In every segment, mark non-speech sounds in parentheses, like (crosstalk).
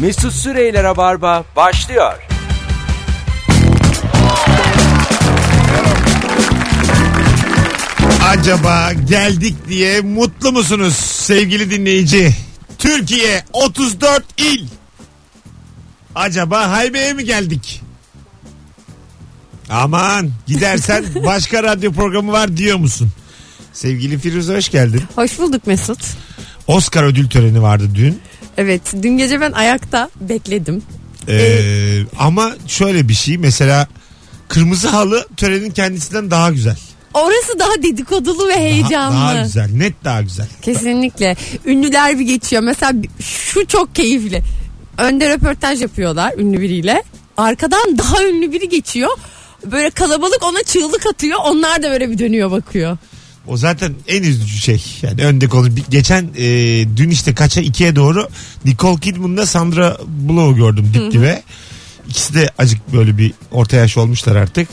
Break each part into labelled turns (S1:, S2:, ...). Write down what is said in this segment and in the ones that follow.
S1: Mesut Süreyler'e barba başlıyor.
S2: Acaba geldik diye mutlu musunuz sevgili dinleyici? Türkiye 34 il. Acaba Haybe'ye mi geldik? Aman gidersen başka radyo programı var diyor musun? Sevgili Firuze hoş geldin.
S3: Hoş bulduk Mesut.
S2: Oscar ödül töreni vardı dün.
S3: Evet dün gece ben ayakta bekledim.
S2: Ee, ama şöyle bir şey mesela kırmızı halı törenin kendisinden daha güzel.
S3: Orası daha dedikodulu ve
S2: Daha-
S3: heyecanlı.
S2: daha güzel net daha güzel.
S3: Kesinlikle. Ünlüler bir geçiyor. Mesela bir- şu çok keyifli. Önde röportaj yapıyorlar ünlü biriyle. Arkadan daha ünlü biri geçiyor. Böyle kalabalık ona çığlık atıyor. Onlar da böyle bir dönüyor bakıyor.
S2: O zaten en üzücü şey. Yani önde konu. bir- Geçen e, dün işte kaça ikiye doğru Nicole Kidman'la Sandra Bullock'u gördüm dip dibe. İkisi de acık böyle bir orta yaş olmuşlar artık.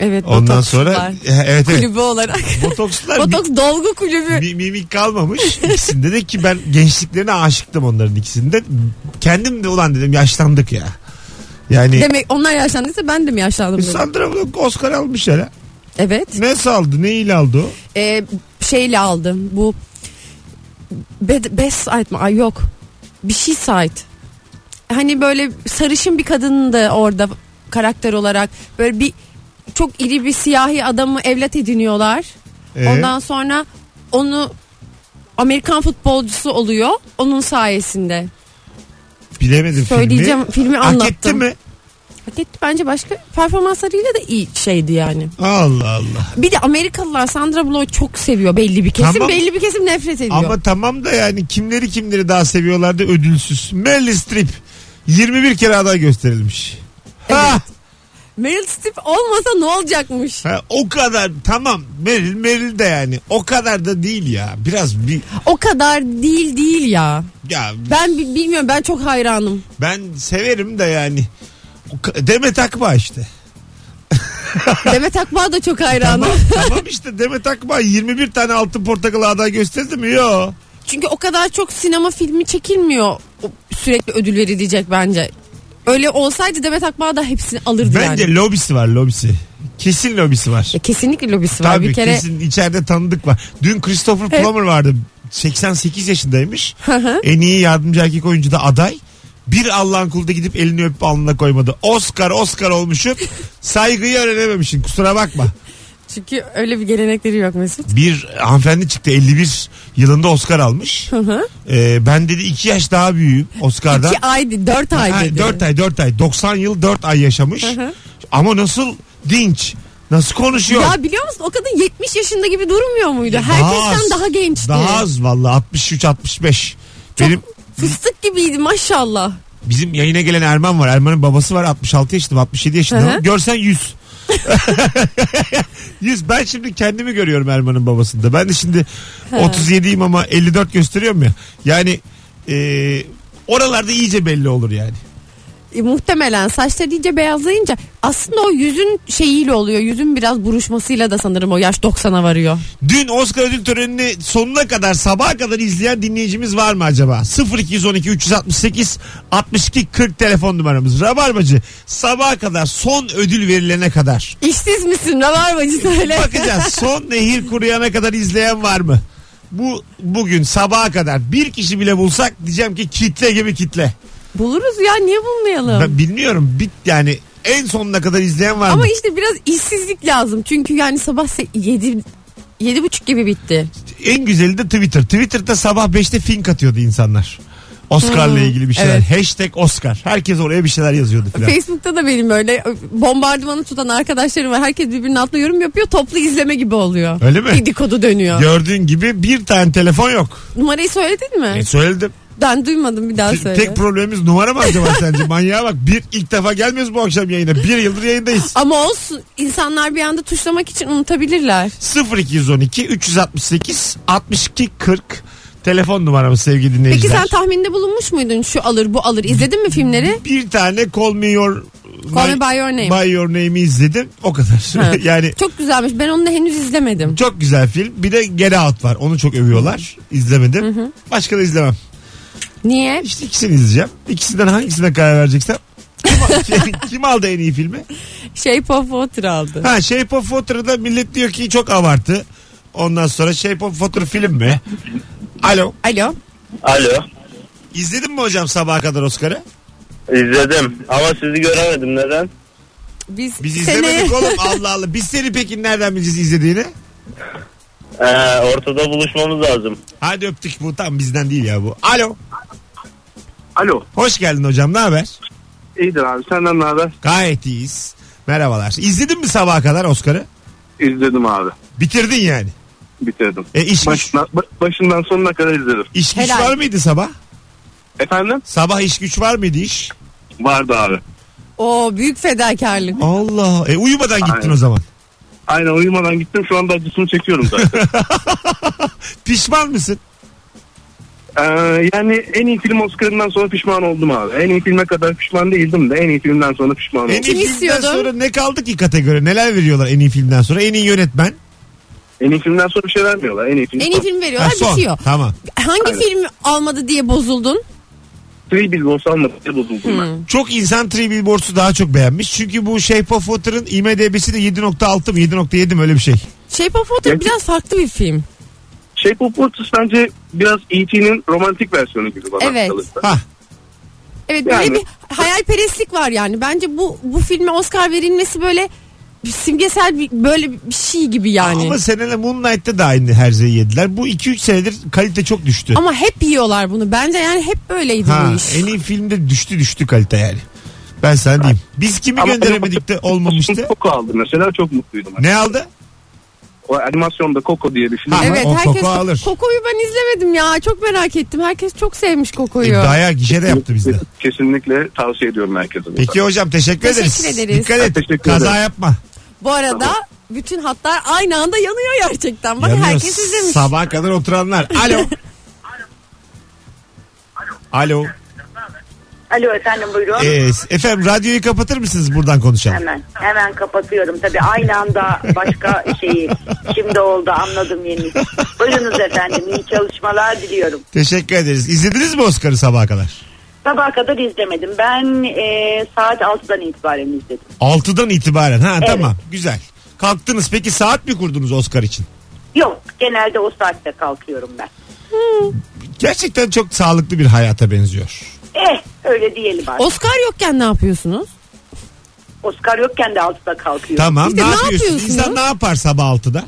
S3: Evet.
S2: Ondan
S3: botoks
S2: sonra (laughs)
S3: var.
S2: evet evet. (laughs)
S3: kulübü olarak.
S2: Botokslar mi-
S3: Botoks dolgu kulübü.
S2: mi- mimik kalmamış. İkisinde de ki ben gençliklerine aşıktım onların ikisinde. Kendim de ulan dedim yaşlandık ya. Yani
S3: Demek onlar yaşlandıysa ben de mi yaşlandım? dedim.
S2: Sandra Bullock Oscar almış ya.
S3: Evet.
S2: Ne saldı ne il aldı o?
S3: e, şeyle aldım bu bed, best site mi? Ay yok. Bir şey site. Hani böyle sarışın bir kadındı orada karakter olarak. Böyle bir çok iri bir siyahi adamı evlat ediniyorlar.
S2: Ee?
S3: Ondan sonra onu Amerikan futbolcusu oluyor onun sayesinde.
S2: Bilemedim
S3: Söyleyeceğim
S2: filmi.
S3: filmi,
S2: Hak
S3: anlattım.
S2: etti mi?
S3: Hak etti bence başka performanslarıyla da iyi şeydi yani.
S2: Allah Allah.
S3: Bir de Amerikalılar Sandra Bullock çok seviyor belli bir kesim.
S2: Tamam.
S3: Belli bir kesim nefret ediyor.
S2: Ama tamam da yani kimleri kimleri daha seviyorlardı ödülsüz. Meryl Streep 21 kere aday gösterilmiş. Ha,
S3: Meryl Streep olmasa ne olacakmış?
S2: ha, o kadar tamam Meryl Meryl de yani o kadar da değil ya. Biraz bir
S3: O kadar değil değil ya.
S2: ya
S3: Ben bi- bilmiyorum ben çok hayranım.
S2: ben severim de yani. O ka- Demet Akbağ
S3: (laughs)
S2: işte.
S3: Demet Akbağ da çok hayranım.
S2: Tamam, tamam işte Demet Akbağ 21 tane altın portakal aday gösterdi mi? Yok.
S3: Çünkü o kadar çok sinema filmi çekilmiyor. O Sürekli ödül verilecek bence. Öyle olsaydı Demet Akbağ da hepsini alırdı
S2: Bence
S3: yani.
S2: lobisi var lobisi. Kesin lobisi var.
S3: Ya kesinlikle lobisi var.
S2: Tabii
S3: bir kere
S2: kesin içeride tanıdık var. Dün Christopher
S3: Evet.
S2: Plummer vardı. 88 yaşındaymış. en iyi yardımcı erkek oyuncu da aday. Bir Allah'ın kulu da gidip elini öpüp alnına koymadı. Oscar Oscar
S3: (laughs)
S2: olmuşum. Saygıyı öğrenememişsin kusura bakma.
S3: çünkü öyle bir gelenekleri yok Mesut.
S2: Bir hanımefendi çıktı 51 yılında Oscar almış.
S3: Hı hı.
S2: Ee, ben dedi 2 yaş daha büyüğüm Oscar'da.
S3: İki ay, dört ay dedi.
S2: 4 ay 4 ay 90 yıl 4 ay yaşamış. Ama nasıl dinç. Nasıl konuşuyor?
S3: Ya biliyor musun o kadın 70 yaşında gibi durmuyor muydu?
S2: Daha az.
S3: Herkesten daha gençti.
S2: Daha az valla 63-65. Benim
S3: Fıstık gibiydi maşallah.
S2: bizim yayına gelen Erman var. Erman'ın babası var 66 yaşında 67 yaşında.
S3: Hı hı.
S2: Görsen (laughs) 100. 100 ben şimdi kendimi görüyorum Erman'ın babasında. Ben de şimdi 37'yim ama 54 gösteriyorum ya. Yani e, oralarda iyice belli olur yani.
S3: E, muhtemelen saçları iyice beyazlayınca aslında o yüzün şeyiyle oluyor. Yüzün biraz buruşmasıyla da sanırım o yaş 90'a varıyor.
S2: Dün Oscar ödül törenini sonuna kadar sabaha kadar izleyen dinleyicimiz var mı acaba? 0212 368 62 40 telefon numaramız. Rabarbacı sabaha kadar son ödül verilene kadar.
S3: İşsiz misin? Ne var bacı
S2: (laughs)
S3: söyle.
S2: Bakacağız son nehir kuruyana kadar izleyen var mı? Bu bugün sabaha kadar bir kişi bile bulsak diyeceğim ki kitle gibi kitle.
S3: Buluruz ya niye bulmayalım?
S2: Ben bilmiyorum bit yani en sonuna kadar izleyen var mı?
S3: Ama işte biraz işsizlik lazım. Çünkü yani sabah 7 Yedi buçuk gibi bitti.
S2: En güzeli de Twitter. Twitter'da sabah 5'te fink atıyordu insanlar. Oscar'la
S3: Hmm,
S2: ilgili bir şeyler.
S3: evet.
S2: Hashtag Oscar. Herkes oraya bir şeyler yazıyordu falan.
S3: Facebook'ta da benim öyle bombardımanı tutan arkadaşlarım var. Herkes birbirinin altına yorum yapıyor. Toplu izleme gibi oluyor.
S2: Öyle mi?
S3: Dedikodu dönüyor.
S2: Gördüğün gibi bir tane telefon yok.
S3: Numarayı söyledin mi?
S2: E, söyledim.
S3: Ben duymadım bir daha
S2: Te-
S3: söyle.
S2: Tek problemimiz numara mı
S3: (laughs)
S2: acaba sence? Manyağa bak. Bir ilk defa gelmiyoruz bu akşam yayına. Bir yıldır yayındayız.
S3: Ama olsun insanlar bir anda tuşlamak için unutabilirler.
S2: 0212 368 62 40 telefon numaramız sevgili
S3: Peki
S2: dinleyiciler.
S3: sen tahminde bulunmuş muydun şu alır bu alır izledin mi filmleri?
S2: bir tane Call Me Your
S3: Call Me By Your Name.
S2: By Your Name'i izledim. O kadar.
S3: Ha.
S2: (laughs) yani
S3: Çok güzelmiş ben onu da henüz izlemedim.
S2: Çok güzel film. Bir de Get Out var. Onu çok övüyorlar. İzlemedim. Başka da izlemem.
S3: Niye?
S2: İşte ikisini izleyeceğim. İkisinden hangisine karar vereceksem. Kim, kim aldı en iyi filmi?
S3: Shape of Water aldı.
S2: Ha Shape of Water'da millet diyor ki çok abartı. Ondan sonra Shape of Water film mi? Alo.
S3: Alo.
S4: Alo.
S2: İzledin mi hocam sabaha kadar Oscar'ı?
S4: İzledim ama sizi göremedim neden?
S3: Biz,
S2: Biz
S3: seni- (laughs)
S2: izlemedik oğlum Allah Allah. Biz seni peki nereden bileceğiz izlediğini?
S4: Ee, ortada buluşmamız lazım.
S2: Hadi öptük bu tam bizden değil ya bu. Alo.
S5: Alo.
S2: Hoş geldin hocam ne haber?
S5: iyidir abi senden ne haber?
S2: Gayet iyiyiz. Merhabalar. İzledin mi sabaha kadar Oscar'ı?
S5: İzledim abi.
S2: Bitirdin yani.
S5: Bitirdim.
S2: E iş, güç,
S5: Başından, ba- başından sonuna kadar izledim.
S2: iş güç
S3: Helal.
S2: var mıydı sabah?
S5: Efendim?
S2: Sabah iş güç var mıydı iş?
S5: Vardı abi.
S3: O büyük fedakarlık.
S2: Allah. E uyumadan gittin
S5: Aynen.
S2: o zaman.
S5: Aynen uyumadan gittim şu anda acısını çekiyorum
S4: (laughs)
S5: zaten.
S2: Pişman mısın?
S5: Ee, yani en iyi film Oscar'ından sonra pişman oldum abi. En iyi filme kadar pişman değildim de en iyi filmden sonra pişman oldum.
S2: En
S5: En,
S2: iyi
S3: Kim
S2: filmden
S3: istiyordu?
S2: sonra ne kaldı ki kategori? Neler veriyorlar en iyi filmden sonra? En iyi yönetmen.
S5: iyi filmden sonra bir şey vermiyorlar. En iyi film.
S3: En iyi film
S2: Ha,
S3: veriyorlar
S2: son.
S3: bitiyor.
S2: Tamam.
S3: Hangi
S5: Aynen.
S3: film almadı diye bozuldun?
S5: Three Billboards almadı diye
S3: Hmm.
S5: bozuldum ben.
S2: Çok insan Three Billboards'u daha çok beğenmiş. Çünkü bu Shape of Water'ın IMDB'si de 7.6 mı 7.7 mi öyle bir şey.
S3: Shape of Water
S5: Gerçi-
S3: biraz farklı bir film.
S5: Shape of Waters bence biraz E.T.'nin romantik versiyonu gibi bana
S3: Evet.
S5: kalırsa.
S2: Ha
S3: Evet böyle
S5: Yani.
S3: bir hayalperestlik var yani. Bence bu bu filme Oscar verilmesi böyle bir simgesel bir, böyle bir şey gibi yani.
S2: Ama
S3: Ama,
S2: seneler Moonlight'ta da aynı herzeyi yediler. Bu 2-3 senedir kalite çok düştü.
S3: hep yiyorlar bunu. Bence yani hep böyleydi
S2: ha,
S3: bu iş.
S2: en iyi filmde düştü düştü kalite yani. Ben sana diyeyim. Biz kimi
S5: Ama-
S2: gönderemedik de olmamıştı.
S5: Coco aldı mesela çok mutluydum.
S2: Ne aldı?
S5: O animasyonda Coco diye bir film.
S2: Ha.
S3: Evet
S2: o
S3: herkes
S2: koku alır.
S3: Koko'yu ben izlemedim ya. Çok merak ettim. Herkes çok sevmiş
S2: E,
S3: Koko'yu.
S2: bayağı gişe de yaptı bizde.
S5: Kesinlikle tavsiye ediyorum herkese. bunu.
S2: Peki hocam teşekkür,
S3: Teşekkür
S2: ederiz.
S3: ederiz.
S2: Dikkat et.
S5: Teşekkür
S2: kaza
S5: ederim.
S2: yapma.
S3: bu arada bütün hatlar aynı anda yanıyor gerçekten. Bak
S2: Yanıyor.
S3: herkes izlemiş.
S2: Sabaha kadar oturanlar.
S3: (laughs)
S2: Alo. Alo.
S6: Alo efendim buyurun.
S2: Ee, efendim radyoyu kapatır mısınız buradan konuşalım?
S6: Hemen hemen kapatıyorum. Tabii aynı anda başka şeyi şimdi oldu anladım yeni. Buyurunuz efendim iyi çalışmalar diliyorum.
S2: Teşekkür ederiz. İzlediniz mi Oscar'ı sabaha kadar?
S6: Sabaha kadar izlemedim. Ben e, saat 6'dan itibaren izledim.
S2: 6'dan itibaren. Ha
S6: Evet.
S2: tamam. Güzel. Kalktınız. Peki saat mi kurdunuz Oscar için?
S6: Yok genelde o saatte kalkıyorum ben.
S2: Gerçekten çok sağlıklı bir hayata benziyor.
S6: Eh öyle diyelim artık.
S3: Oscar yokken ne yapıyorsunuz?
S6: Oscar yokken de 6'da kalkıyorum.
S2: Tamam.
S3: İşte
S2: ne,
S3: ne
S2: yapıyorsun?
S3: yapıyorsunuz?
S2: İnsan ne yapar sabah 6'da?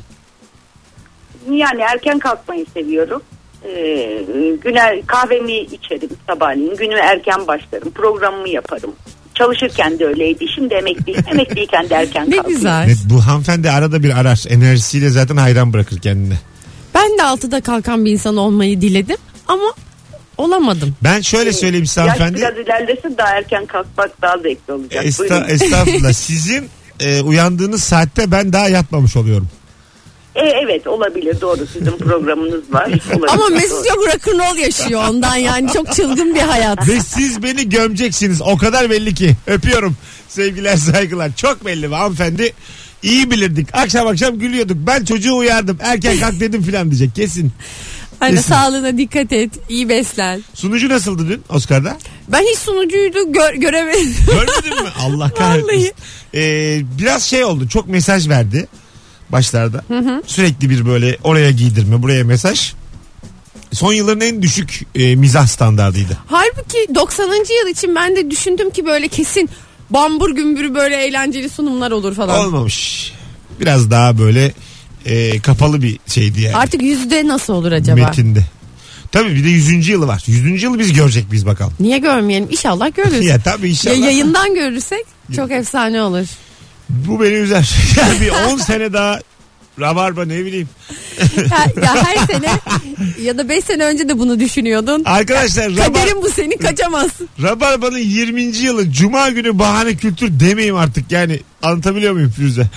S6: Yani erken kalkmayı seviyorum. Ee, güne kahvemi içerim sabahleyin. Günü erken başlarım. Programımı yaparım. Çalışırken de öyleydi.
S3: (laughs)
S6: Şimdi emekliyim. Emekliyken de erken
S3: Ne
S6: kalkıyorum.
S3: güzel.
S2: Evet, bu hanımefendi arada bir arar. Enerjisiyle zaten hayran bırakır kendini.
S3: Ben de altıda kalkan bir insan olmayı diledim ama olamadım.
S2: Ben şöyle söyleyeyim size
S6: Yaş
S2: hanımefendi.
S6: Ee, biraz ilerlese daha erken kalkmak daha zevkli olacak.
S2: Esta,
S6: Buyurun. (laughs)
S2: estağfurullah. Sizin e, uyandığınız saatte ben daha yatmamış oluyorum.
S6: E, evet olabilir doğru sizin
S2: (laughs)
S6: programınız var. Olabilir,
S3: Ama
S6: doğru.
S3: Mesut yok rock'n'roll yaşıyor ondan yani çok çılgın bir hayat.
S2: Ve siz beni gömeceksiniz. O kadar belli ki. Öpüyorum. Sevgiler saygılar. Çok belli be hanımefendi. İyi bilirdik. Akşam akşam gülüyorduk. Ben çocuğu uyardım. Erken kalk dedim filan diyecek. Kesin.
S3: Hani
S2: Kesin.
S3: sağlığına dikkat et, iyi beslen.
S2: Sunucu nasıldı dün Oscar'da?
S3: Ben hiç sunucuydu gör, göremedim.
S2: Görmedin mi? (laughs) Allah kahretsin.
S3: Vallahi.
S2: Ee, biraz şey oldu. Çok mesaj verdi başlarda. Sürekli bir böyle oraya giydirme, buraya mesaj. Son yılların en düşük e, mizah standardıydı.
S3: Halbuki 90. yıl için ben de düşündüm ki böyle kesin bambur gümbürü böyle eğlenceli sunumlar olur falan.
S2: Olmamış. Biraz daha böyle e, kapalı bir şeydi yani.
S3: Artık yüzde nasıl olur acaba?
S2: Metinde. Tabii bir de 100. yılı var. 100. yılı biz görecek biz bakalım.
S3: Niye görmeyelim? İnşallah görürüz.
S2: Ya tabii
S3: Ya
S2: inşallah.
S3: yayından görürsek çok
S2: (laughs)
S3: efsane olur.
S2: Bu beni üzer. (laughs) Yani bir 10 sene daha rabarba ne bileyim.
S3: Ya, ya her sene ya da 5 sene önce de bunu düşünüyordun.
S2: Arkadaşlar rabar,
S3: Kaderim bu seni kaçamazsın.
S2: Rabarba'nın 20. yılı Cuma günü bahane kültür demeyeyim artık yani anlatabiliyor muyum Firuze?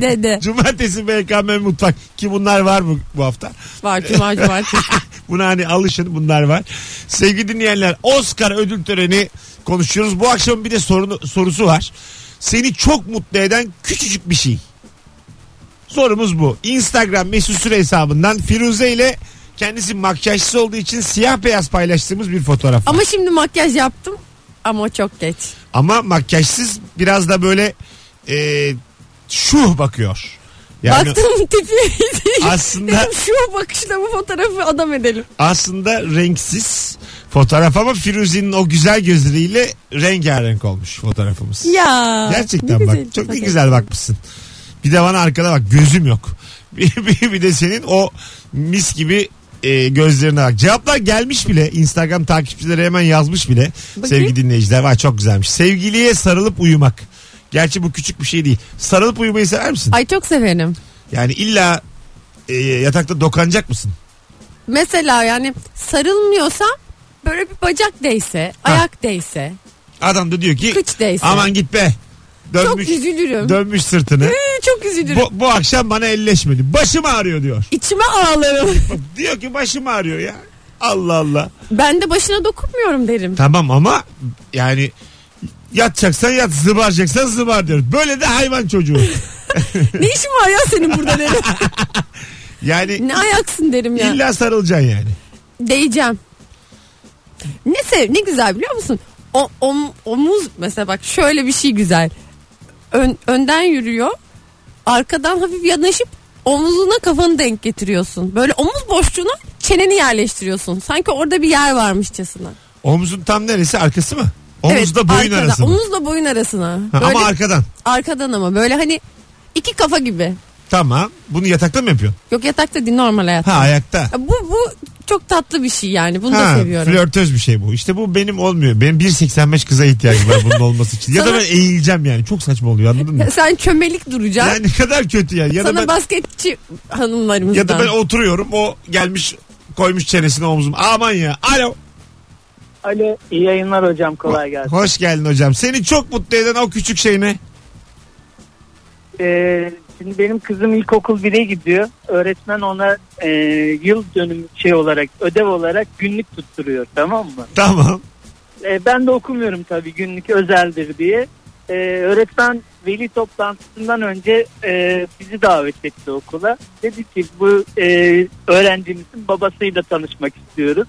S3: Dede.
S2: Cumartesi BKM Mutfak ki bunlar var mı bu hafta? (laughs)
S3: Var cuma cumartesi.
S2: Buna hani alışın bunlar var. Sevgili dinleyenler Oscar ödül töreni konuşuyoruz. Bu akşam bir de sorunu, sorusu var. Seni çok mutlu eden küçücük bir şey. Sorumuz bu. Instagram mesut süre hesabından Firuze ile Kendisi makyajsız olduğu için siyah beyaz paylaştığımız bir fotoğraf. var.
S3: Ama şimdi makyaj yaptım ama o çok geç.
S2: Ama makyajsız biraz da böyle e, şuh bakıyor. Yani (laughs)
S3: Baktım tipi.
S2: aslında
S3: Dedim (laughs) şu bakışla bu fotoğrafı adam edelim.
S2: aslında renksiz fotoğraf ama Firuze'nin o güzel gözleriyle rengarenk olmuş fotoğrafımız.
S3: Ya.
S2: Gerçekten
S3: ne
S2: bak.
S3: güzel
S2: Çok
S3: fotoğraf.
S2: ne güzel bakmışsın. Bir de bana arkada bak gözüm yok. (laughs) bir, bir- bir de senin o mis gibi e, gözlerine bak. Cevaplar gelmiş bile. Instagram takipçileri hemen yazmış bile.
S3: Bakayım.
S2: Sevgili dinleyiciler. Vay çok güzelmiş. Sevgiliye sarılıp uyumak. Gerçi bu küçük bir şey değil. Sarılıp uyumayı sever misin?
S3: Ay çok severim.
S2: Yani illa e, yatakta dokanacak mısın?
S3: Mesela yani sarılmıyorsa böyle bir bacak değse, ayak değse,
S2: Adam da diyor ki
S3: kıç değse.
S2: aman git be. Dönmüş,
S3: Çok üzülürüm.
S2: dönmüş sırtını.
S3: Ee, çok üzülürüm.
S2: Bu, bu akşam bana elleşmedi. Başım ağrıyor diyor.
S3: İçime ağlarım.
S2: Diyor ki başım ağrıyor ya. Allah Allah.
S3: ben de başına dokunmuyorum derim.
S2: Tamam ama yani yatacaksan yat zıbaracaksan zıbar diyor. Böyle de hayvan
S3: (laughs)
S2: çocuğu.
S3: ne işin var ya senin
S2: (laughs)
S3: burada derim.
S2: Yani
S3: ne ayaksın derim ya.
S2: illa sarılacaksın yani.
S3: Değeceğim. Ne sev ne güzel biliyor musun? O om- omuz mesela bak şöyle bir şey güzel. Ön- önden yürüyor. Arkadan hafif yanaşıp omuzuna kafanı denk getiriyorsun. Böyle omuz boşluğuna çeneni yerleştiriyorsun. Sanki orada bir yer varmışçasına.
S2: Omuzun tam neresi arkası mı? Omuzda boyun
S3: arkadan.
S2: arası mı?
S3: Omuzla boyun arasına.
S2: Ha,
S3: Böyle
S2: ama arkadan.
S3: arkadan ama böyle hani iki kafa gibi.
S2: Tamam. Bunu yatakta mı yapıyorsun?
S3: Yok yatakta değil normal hayatta.
S2: Ha ayakta.
S3: Bu bu çok tatlı bir şey yani. Bunu
S2: Ha,
S3: da seviyorum.
S2: flörtöz bir şey bu. İşte bu benim olmuyor. Benim 1.85 kıza ihtiyacım var bunun olması için. Ya da
S3: Sana-
S2: ben eğileceğim yani. Çok saçma oluyor anladın
S3: (laughs)
S2: mı?
S3: Sen çömelik duracaksın.
S2: Yani ne kadar kötü yani. Ya da
S3: Sana
S2: ben-
S3: basketçi hanımlarımızdan.
S2: Ya da ben oturuyorum o gelmiş koymuş çenesine omzum. Aman ya. Alo.
S7: Alo iyi yayınlar hocam kolay gelsin.
S2: Hoş geldin hocam. Seni çok mutlu eden o küçük şey ne?
S7: Ee, şimdi benim kızım ilkokul 1'e gidiyor. Öğretmen ona e, yıl dönümü şey olarak ödev olarak günlük tutturuyor tamam mı?
S2: Tamam.
S7: E, ben de okumuyorum tabii günlük özeldir diye. E, öğretmen veli toplantısından önce e, bizi davet etti okula. Dedi ki bu e, öğrencimizin babasıyla tanışmak istiyoruz.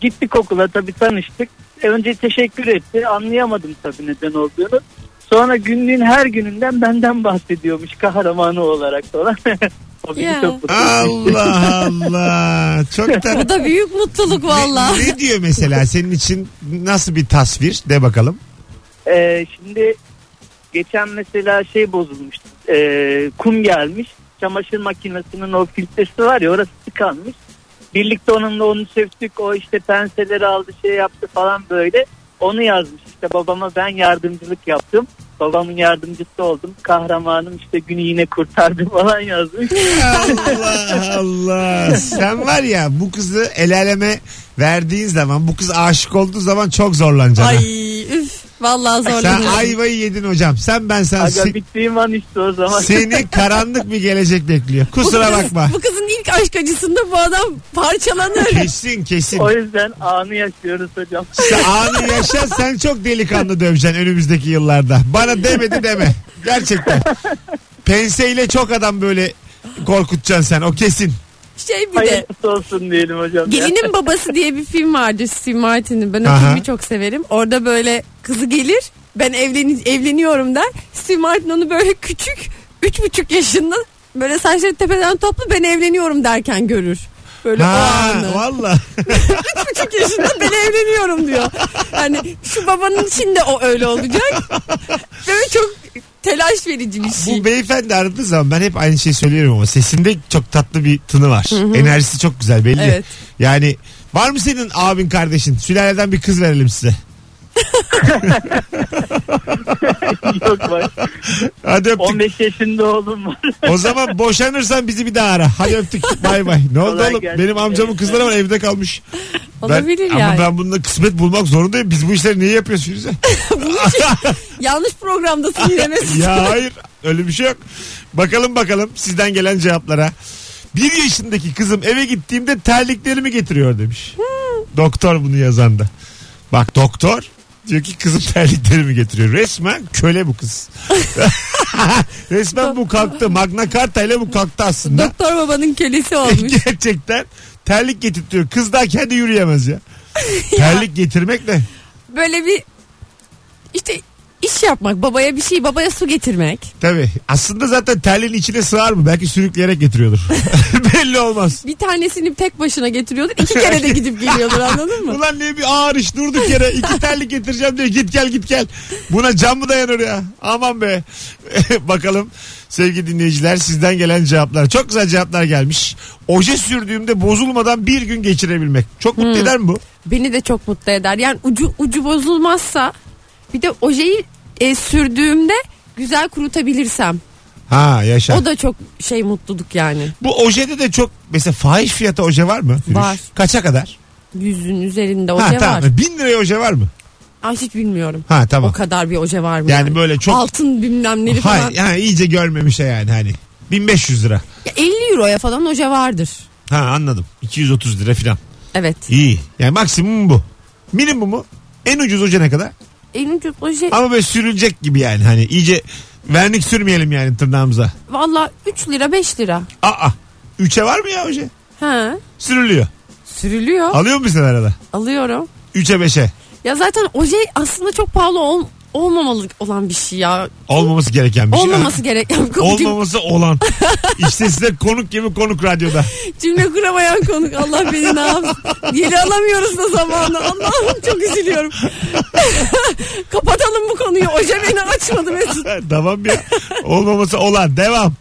S7: Gittik okula tabii tanıştık. E, önce teşekkür etti. Anlayamadım tabii neden olduğunu. Sonra günlüğün her gününden benden bahsediyormuş kahramanı olarak falan. (laughs) o bizi
S3: Ya.
S7: çok mutlu şey. etti.
S2: Allah Allah. Çok da...
S3: Bu da büyük mutluluk valla.
S2: Ne, ne diyor mesela senin için nasıl bir tasvir de bakalım.
S7: Ee, şimdi geçen mesela şey bozulmuş. Ee, kum gelmiş. Çamaşır makinesinin o filtresi var ya orası tıkanmış. Birlikte onunla onu söktük. O işte penseleri aldı şey yaptı falan böyle. Onu yazmış işte babama ben yardımcılık yaptım. Babamın yardımcısı oldum. Kahramanım işte günü yine kurtardı (laughs) falan yazmış.
S2: Allah Allah. Sen var ya bu kızı el aleme verdiğin zaman bu kız aşık olduğu zaman çok zorlanacaksın. ha.
S3: Ay üf valla
S2: Sen
S3: zorlanıyorum.
S2: ayvayı yedin hocam. Sen ben sen.
S7: Aga bittiğim an işte o zaman.
S2: Seni karanlık bir gelecek bekliyor.
S3: Bu
S2: Kusura
S3: kız-
S2: bakma.
S3: Bu kızın ilk aşk acısında bu adam parçalanır.
S2: Kesin kesin.
S7: O yüzden anı yaşıyoruz hocam.
S2: Sen anı yaşa sen çok delikanlı döveceksin önümüzdeki yıllarda. Bana demedi deme. Gerçekten. Penseyle çok adam böyle korkutacaksın sen o kesin.
S3: Şey bir de
S7: Hayırlısı olsun diyelim hocam. ya.
S3: Gelinin Babası diye bir film vardı Steve Martin'in. Ben o
S2: Aha.
S3: filmi çok severim. Orada böyle kızı gelir ben evlen evleniyorum der. Steve Martin onu böyle küçük üç buçuk yaşında böyle saçları tepeden toplu ben evleniyorum derken görür. Böyle o
S2: Ha
S3: anı.
S2: valla.
S3: buçuk yaşında ben evleniyorum diyor. Yani şu babanın için de o öyle olacak. Böyle çok telaş verici bir şey.
S2: Bu beyefendi aradığı zaman ben hep aynı şeyi söylüyorum ama sesinde çok tatlı bir tını var. Enerjisi çok güzel belli.
S3: Evet.
S2: Yani var mı senin abin kardeşin? Sülaleden bir kız verelim size.
S7: Yok var.
S2: Hadi öptük.
S7: 15 yaşında oğlum var.
S2: O zaman boşanırsan bizi bir daha ara. Hadi öptük. Bay bay. Ne oldu
S7: Kolay
S2: oğlum?
S7: gelsin.
S2: Benim amcamın kızları var evde kalmış.
S3: Olabilir
S2: ben, Ama
S3: yani.
S2: ben bununla kısmet bulmak zorundayım. Biz bu işleri niye yapıyoruz Firuze? (laughs)
S3: Yanlış programdasın yine Mesut.
S2: ya hayır. Öyle bir şey yok. Bakalım bakalım sizden gelen cevaplara. Bir yaşındaki kızım eve gittiğimde terliklerimi getiriyor demiş. Doktor bunu yazanda. Bak doktor diyor ki kızım terliklerimi getiriyor. Resmen köle bu kız. (laughs) Resmen bu kalktı. Magna Carta ile bu kalktı aslında.
S3: Doktor babanın kölesi olmuş.
S2: (laughs) Gerçekten Terlik getirtiyor. Kız daha kendi yürüyemez
S3: (laughs)
S2: ya. Terlik getirmek ne?
S3: Böyle bir işte iş yapmak babaya bir şey babaya su getirmek.
S2: Tabii. Aslında zaten terliğin içine sığar mı? Belki sürükleyerek
S3: (laughs)
S2: getiriyordur. (laughs) Belli olmaz.
S3: Bir tanesini tek başına getiriyordur. iki kere de gidip geliyordur anladın mı?
S2: Ulan ne bir ağır iş durduk yere. iki terlik getireceğim diye git gel git gel. Buna can mı dayanır ya? Aman be. (laughs) Bakalım sevgili dinleyiciler sizden gelen cevaplar. Çok güzel cevaplar gelmiş. Oje sürdüğümde bozulmadan bir gün geçirebilmek. Çok mutlu eder mi bu?
S3: Beni de çok mutlu eder. Yani ucu ucu bozulmazsa bir de ojeyi e, sürdüğümde güzel kurutabilirsem.
S2: Ha yaşa.
S3: O da çok şey mutluluk yani.
S2: Bu ojede de çok mesela fahiş fiyata oje var mı? Firuş?
S3: Var.
S2: Kaça kadar?
S3: Yüzün üzerinde
S2: ha,
S3: oje var.
S2: tamam. Bin liraya oje var mı?
S3: Ay hiç bilmiyorum.
S2: Ha tamam.
S3: O kadar bir oje var mı?
S2: Yani böyle çok-
S3: Altın bilmem neli falan.
S2: Hayır yani iyice görmemişe yani hani. 1500 lira.
S3: Ya 50 euroya falan oje vardır.
S2: Ha anladım. 230 lira filan.
S3: Evet.
S2: İyi. Yani maksimum bu. Minimumu en ucuz hoca ne kadar?
S3: En ucuz oje
S2: Ama böyle sürülecek gibi yani hani iyice vernik sürmeyelim yani tırnağımıza.
S3: valla 3 lira 5 lira.
S2: Aa. Üçe var mı ya hoca?
S3: Ha.
S2: Sürülüyor.
S3: Sürülüyor.
S2: Alıyor musun sen arada?
S3: Alıyorum.
S2: Üçe beşe.
S3: Ya zaten oje aslında çok pahalı ol, olmamalı olan bir şey ya.
S2: Olmaması gereken bir şey.
S3: Olmaması gereken
S2: Olmaması olan. işte size konuk gibi konuk radyoda.
S3: Cümle kuramayan konuk Allah beni ne yapsın. Geri alamıyoruz da zamanı. Allah'ım çok üzülüyorum. (laughs) Kapatalım bu konuyu. Oje beni açmadı Mesut.
S2: (laughs) tamam ya. Olmaması olan. Devam.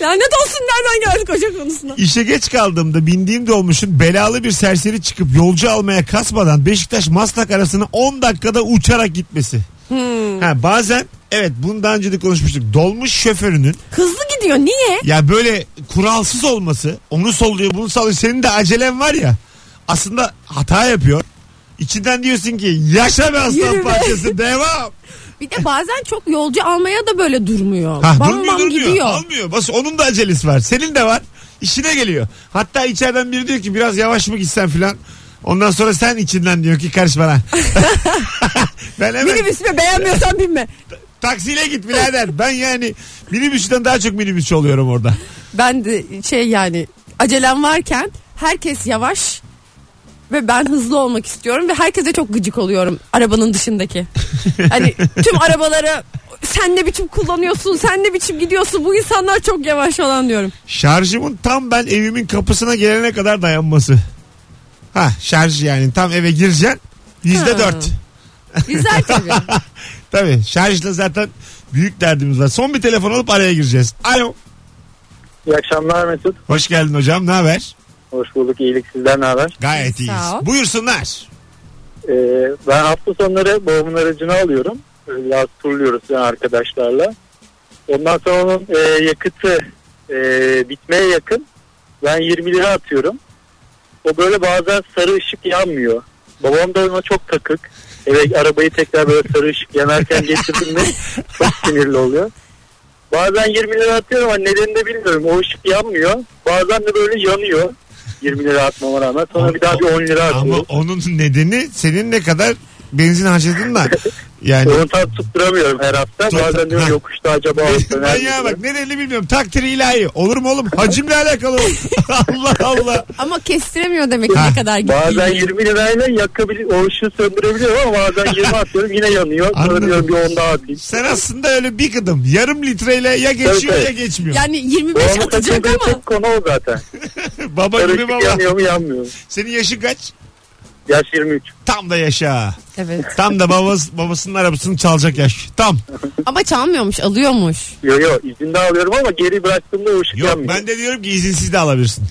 S3: Lanet olsun nereden geldik oje konusuna.
S2: İşe geç kaldığımda bindiğim dolmuşun belalı bir serseri çıkıp yolcu almaya kasmadan Beşiktaş Maslak arasını 10 dakikada uçarak gitmesi.
S3: Hmm.
S2: Ha, bazen evet bunu daha önce de konuşmuştuk. Dolmuş şoförünün
S3: Hızlı gidiyor. Niye?
S2: ya böyle kuralsız olması onu solluyor bunu sallıyor. Senin de acelen var ya aslında hata yapıyor. İçinden diyorsun ki yaşa be aslan
S3: Yürü be.
S2: parçası devam.
S3: Bir de bazen çok yolcu almaya da böyle durmuyor.
S2: Ha,
S3: bam
S2: durmuyor,
S3: bam
S2: durmuyor.
S3: gidiyor.
S2: Almıyor. Bas, onun da acelesi var. Senin de var. İşine geliyor. Hatta içeriden biri diyor ki biraz yavaş mı gitsen filan. Ondan sonra sen içinden diyor ki karış bana. (laughs) ben hemen
S3: Minibüsüme beğenmiyorsan binme.
S2: taksiyle git birader. Ben yani minibüsten daha çok minibüsçü oluyorum orada.
S3: Ben de şey yani acelem varken herkes yavaş ve ben hızlı olmak istiyorum ve herkese çok gıcık oluyorum
S2: (laughs)
S3: arabanın dışındaki. hani tüm arabaları sen ne biçim kullanıyorsun, sen ne biçim gidiyorsun, bu insanlar çok yavaş olan diyorum.
S2: Şarjımın tam ben evimin kapısına gelene kadar dayanması. Ha şarj yani tam eve gireceksin. Yüzde
S3: Ha.
S2: dört.
S3: Güzel tabii.
S2: (laughs) Tabii şarjla zaten büyük derdimiz var. Son bir telefon alıp araya gireceğiz. Alo.
S8: İyi akşamlar Mesut.
S2: Hoş geldin hocam. Ne haber?
S8: Hoş bulduk. İyilik sizden ne haber?
S2: Gayet
S3: Sağ
S2: iyiyiz.
S3: ol.
S2: Buyursunlar.
S8: Ee, ben hafta sonları babamın aracını alıyorum. Ee, Biraz turluyoruz yani arkadaşlarla. Ondan sonra onun e, yakıtı e, bitmeye yakın. Ben 20 lira atıyorum. O böyle bazen sarı ışık yanmıyor. Babam da ona çok takık. Eve arabayı tekrar böyle sarı ışık yanarken getirdim mi çok sinirli oluyor. Bazen 20 lira atıyorum ama nedenini de bilmiyorum. O ışık yanmıyor. Bazen de böyle yanıyor. 20 lira atmama rağmen. Sonra bir daha bir 10 lira atıyorum.
S2: Ama onun nedeni senin ne kadar benzin harcadın da. Yani
S8: Onu tam tutturamıyorum her hafta.
S2: Tut-
S8: Bazen diyorum
S2: Ha.
S8: yokuşta acaba olsa
S2: ben ya bak nedenini bilmiyorum. Takdir ilahi. Olur mu oğlum? Hacimle alakalı.
S8: (laughs)
S2: o. Allah Allah.
S3: Ama kestiremiyor demek ki
S2: Ha.
S3: ne kadar gittiğini.
S8: (laughs) Bazen 20 lirayla yakabilir, o ışığı söndürebiliyorum ama bazen
S2: (laughs)
S8: 20 atıyorum yine yanıyor. Sonra
S2: Anladım.
S8: diyorum bir 10 daha atayım.
S2: Sen aslında öyle bir kıdım. Yarım litreyle ya geçiyor
S8: Tabii,
S2: ya
S8: tabii.
S2: geçmiyor.
S3: Yani 25
S8: Babamın
S3: atacak
S8: takıldığı
S3: ama
S8: tek konu o zaten.
S2: (laughs) baba
S8: Sarı
S2: gibi
S8: ışık
S2: baba.
S8: yanıyor mu yanmıyor mu?
S2: Senin yaşın kaç?
S8: Yaş 23.
S2: Tam da yaşa.
S3: evet.
S2: Tam da babası, babasının arabasını çalacak yaş. Tam.
S3: Ama çalmıyormuş, alıyormuş.
S8: Yo yo izinde alıyorum ama geri bıraktığımda o ışık
S2: Yok
S8: yanmıyor.
S2: ben de diyorum ki izinsiz de alabilirsin.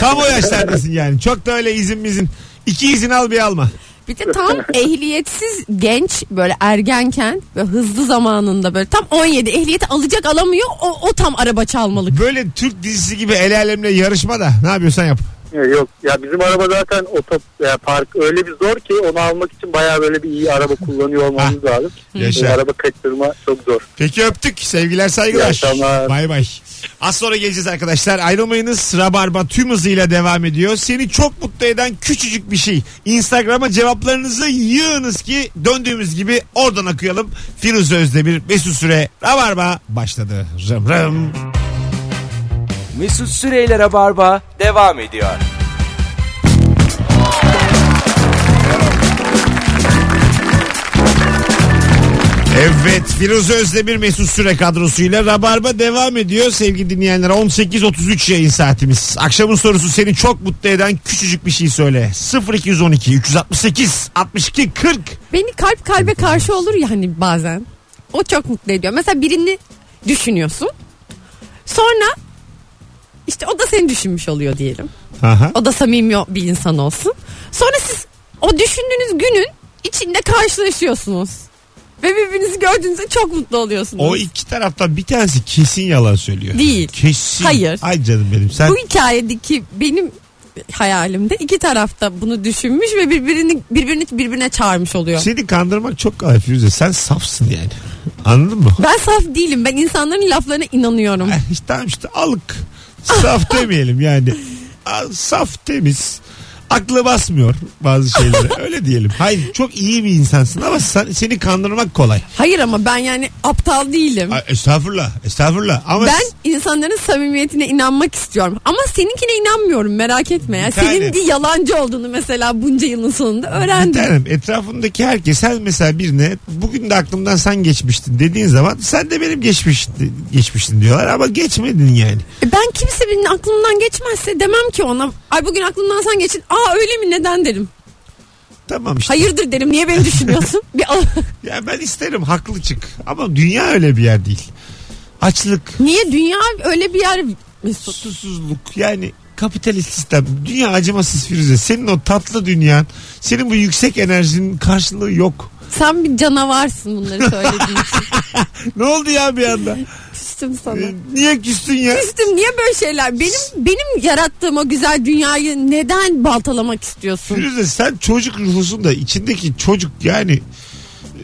S2: Tam o yaşlardasın yani. Çok da öyle izin mizin. İki izin al bir alma.
S3: Bir de tam ehliyetsiz genç böyle ergenken ve hızlı zamanında böyle tam 17 ehliyeti alacak alamıyor o, o tam araba çalmalık.
S2: Böyle Türk dizisi gibi el alemle yarışma da ne yapıyorsan yap.
S8: Yok ya bizim araba zaten otop ya park öyle bir zor ki onu almak için bayağı böyle bir iyi araba kullanıyor olmamız lazım.
S2: Yaşa.
S8: Bu Araba kaçırma çok zor.
S2: Peki öptük. Sevgiler
S8: İyi
S2: saygılar.
S8: akşamlar.
S2: Bay bay. Az sonra geleceğiz arkadaşlar. Ayrılmayınız. Rabarba tüm hızıyla devam ediyor. Seni çok mutlu eden küçücük bir şey. Instagram'a cevaplarınızı yığınız ki döndüğümüz gibi oradan okuyalım. Firuze Özdemir, Mesut Süre, Rabarba başladı. Rım rım.
S1: Mesut Süreyler'e barba devam ediyor.
S2: Evet Firuze Özdemir Mesut Süre kadrosuyla Rabarba devam ediyor sevgili dinleyenler 18.33 yayın saatimiz. Akşamın sorusu seni çok mutlu eden küçücük bir şey söyle 0212 368 62 40
S3: Beni kalp kalbe karşı olur ya hani bazen. O çok mutlu ediyor. Mesela birini düşünüyorsun. Sonra işte o da seni düşünmüş oluyor diyelim.
S2: Aha.
S3: O da samimi bir insan olsun. Sonra siz o düşündüğünüz günün içinde karşılaşıyorsunuz. Ve birbirinizi gördüğünüzde çok mutlu oluyorsunuz.
S2: O iki taraftan bir tanesi kesin yalan söylüyor.
S3: Değil.
S2: Kesin.
S3: Hayır.
S2: Ay canım benim sen
S3: Bu hikayedeki benim hayalimde iki tarafta bunu düşünmüş ve birbirini birbirini birbirine çağırmış oluyor.
S2: seni kandırmak çok kolay Firuze sen safsın yani anladın mı?
S3: Ben saf değilim. Ben insanların laflarına inanıyorum.
S2: Eh, işte tamam işte alık. Saf demeyelim yani. A- Saf temiz. Aklı basmıyor bazı şeylere. Öyle diyelim. Hayır çok iyi bir insansın ama sen, seni kandırmak kolay.
S3: Hayır ama ben yani aptal değilim.
S2: Ay, estağfurullah. Estağfurullah. Ama
S3: Ben insanların samimiyetine inanmak istiyorum. Ama seninkine inanmıyorum merak etme. Ya.
S2: Bir tane.
S3: Senin de yalancı olduğunu mesela bunca yılın sonunda
S2: bir
S3: öğrendim.
S2: tanem etrafındaki herkes sen mesela birine bugün de aklımdan sen geçmiştin dediğin zaman sen de benim geçmiş, geçmiştin diyorlar ama geçmedin yani.
S3: E Ben kimse birinin aklımdan geçmezse demem ki ona. Ay bugün aklımdan sen geçin. Aa öyle mi neden derim.
S2: Tamam işte.
S3: Hayırdır derim niye beni düşünüyorsun? (laughs) Bir al-
S2: Ya ben isterim haklı çık ama dünya öyle bir yer değil. Açlık,
S3: niye dünya öyle bir yer Mesut?
S2: susuzluk yani kapitalist sistem dünya acımasız Firuze senin o tatlı dünyan senin bu yüksek enerjinin karşılığı yok (laughs)
S3: Sen bir canavarsın bunları söylediğin için.
S2: ne oldu ya bir anda
S3: Küstüm sana.
S2: Ee, niye küstün ya
S3: Küstüm niye böyle şeyler? Benim benim yarattığım o güzel dünyayı neden baltalamak istiyorsun?
S2: Firuze sen çocuk ruhlusun da içindeki çocuk yani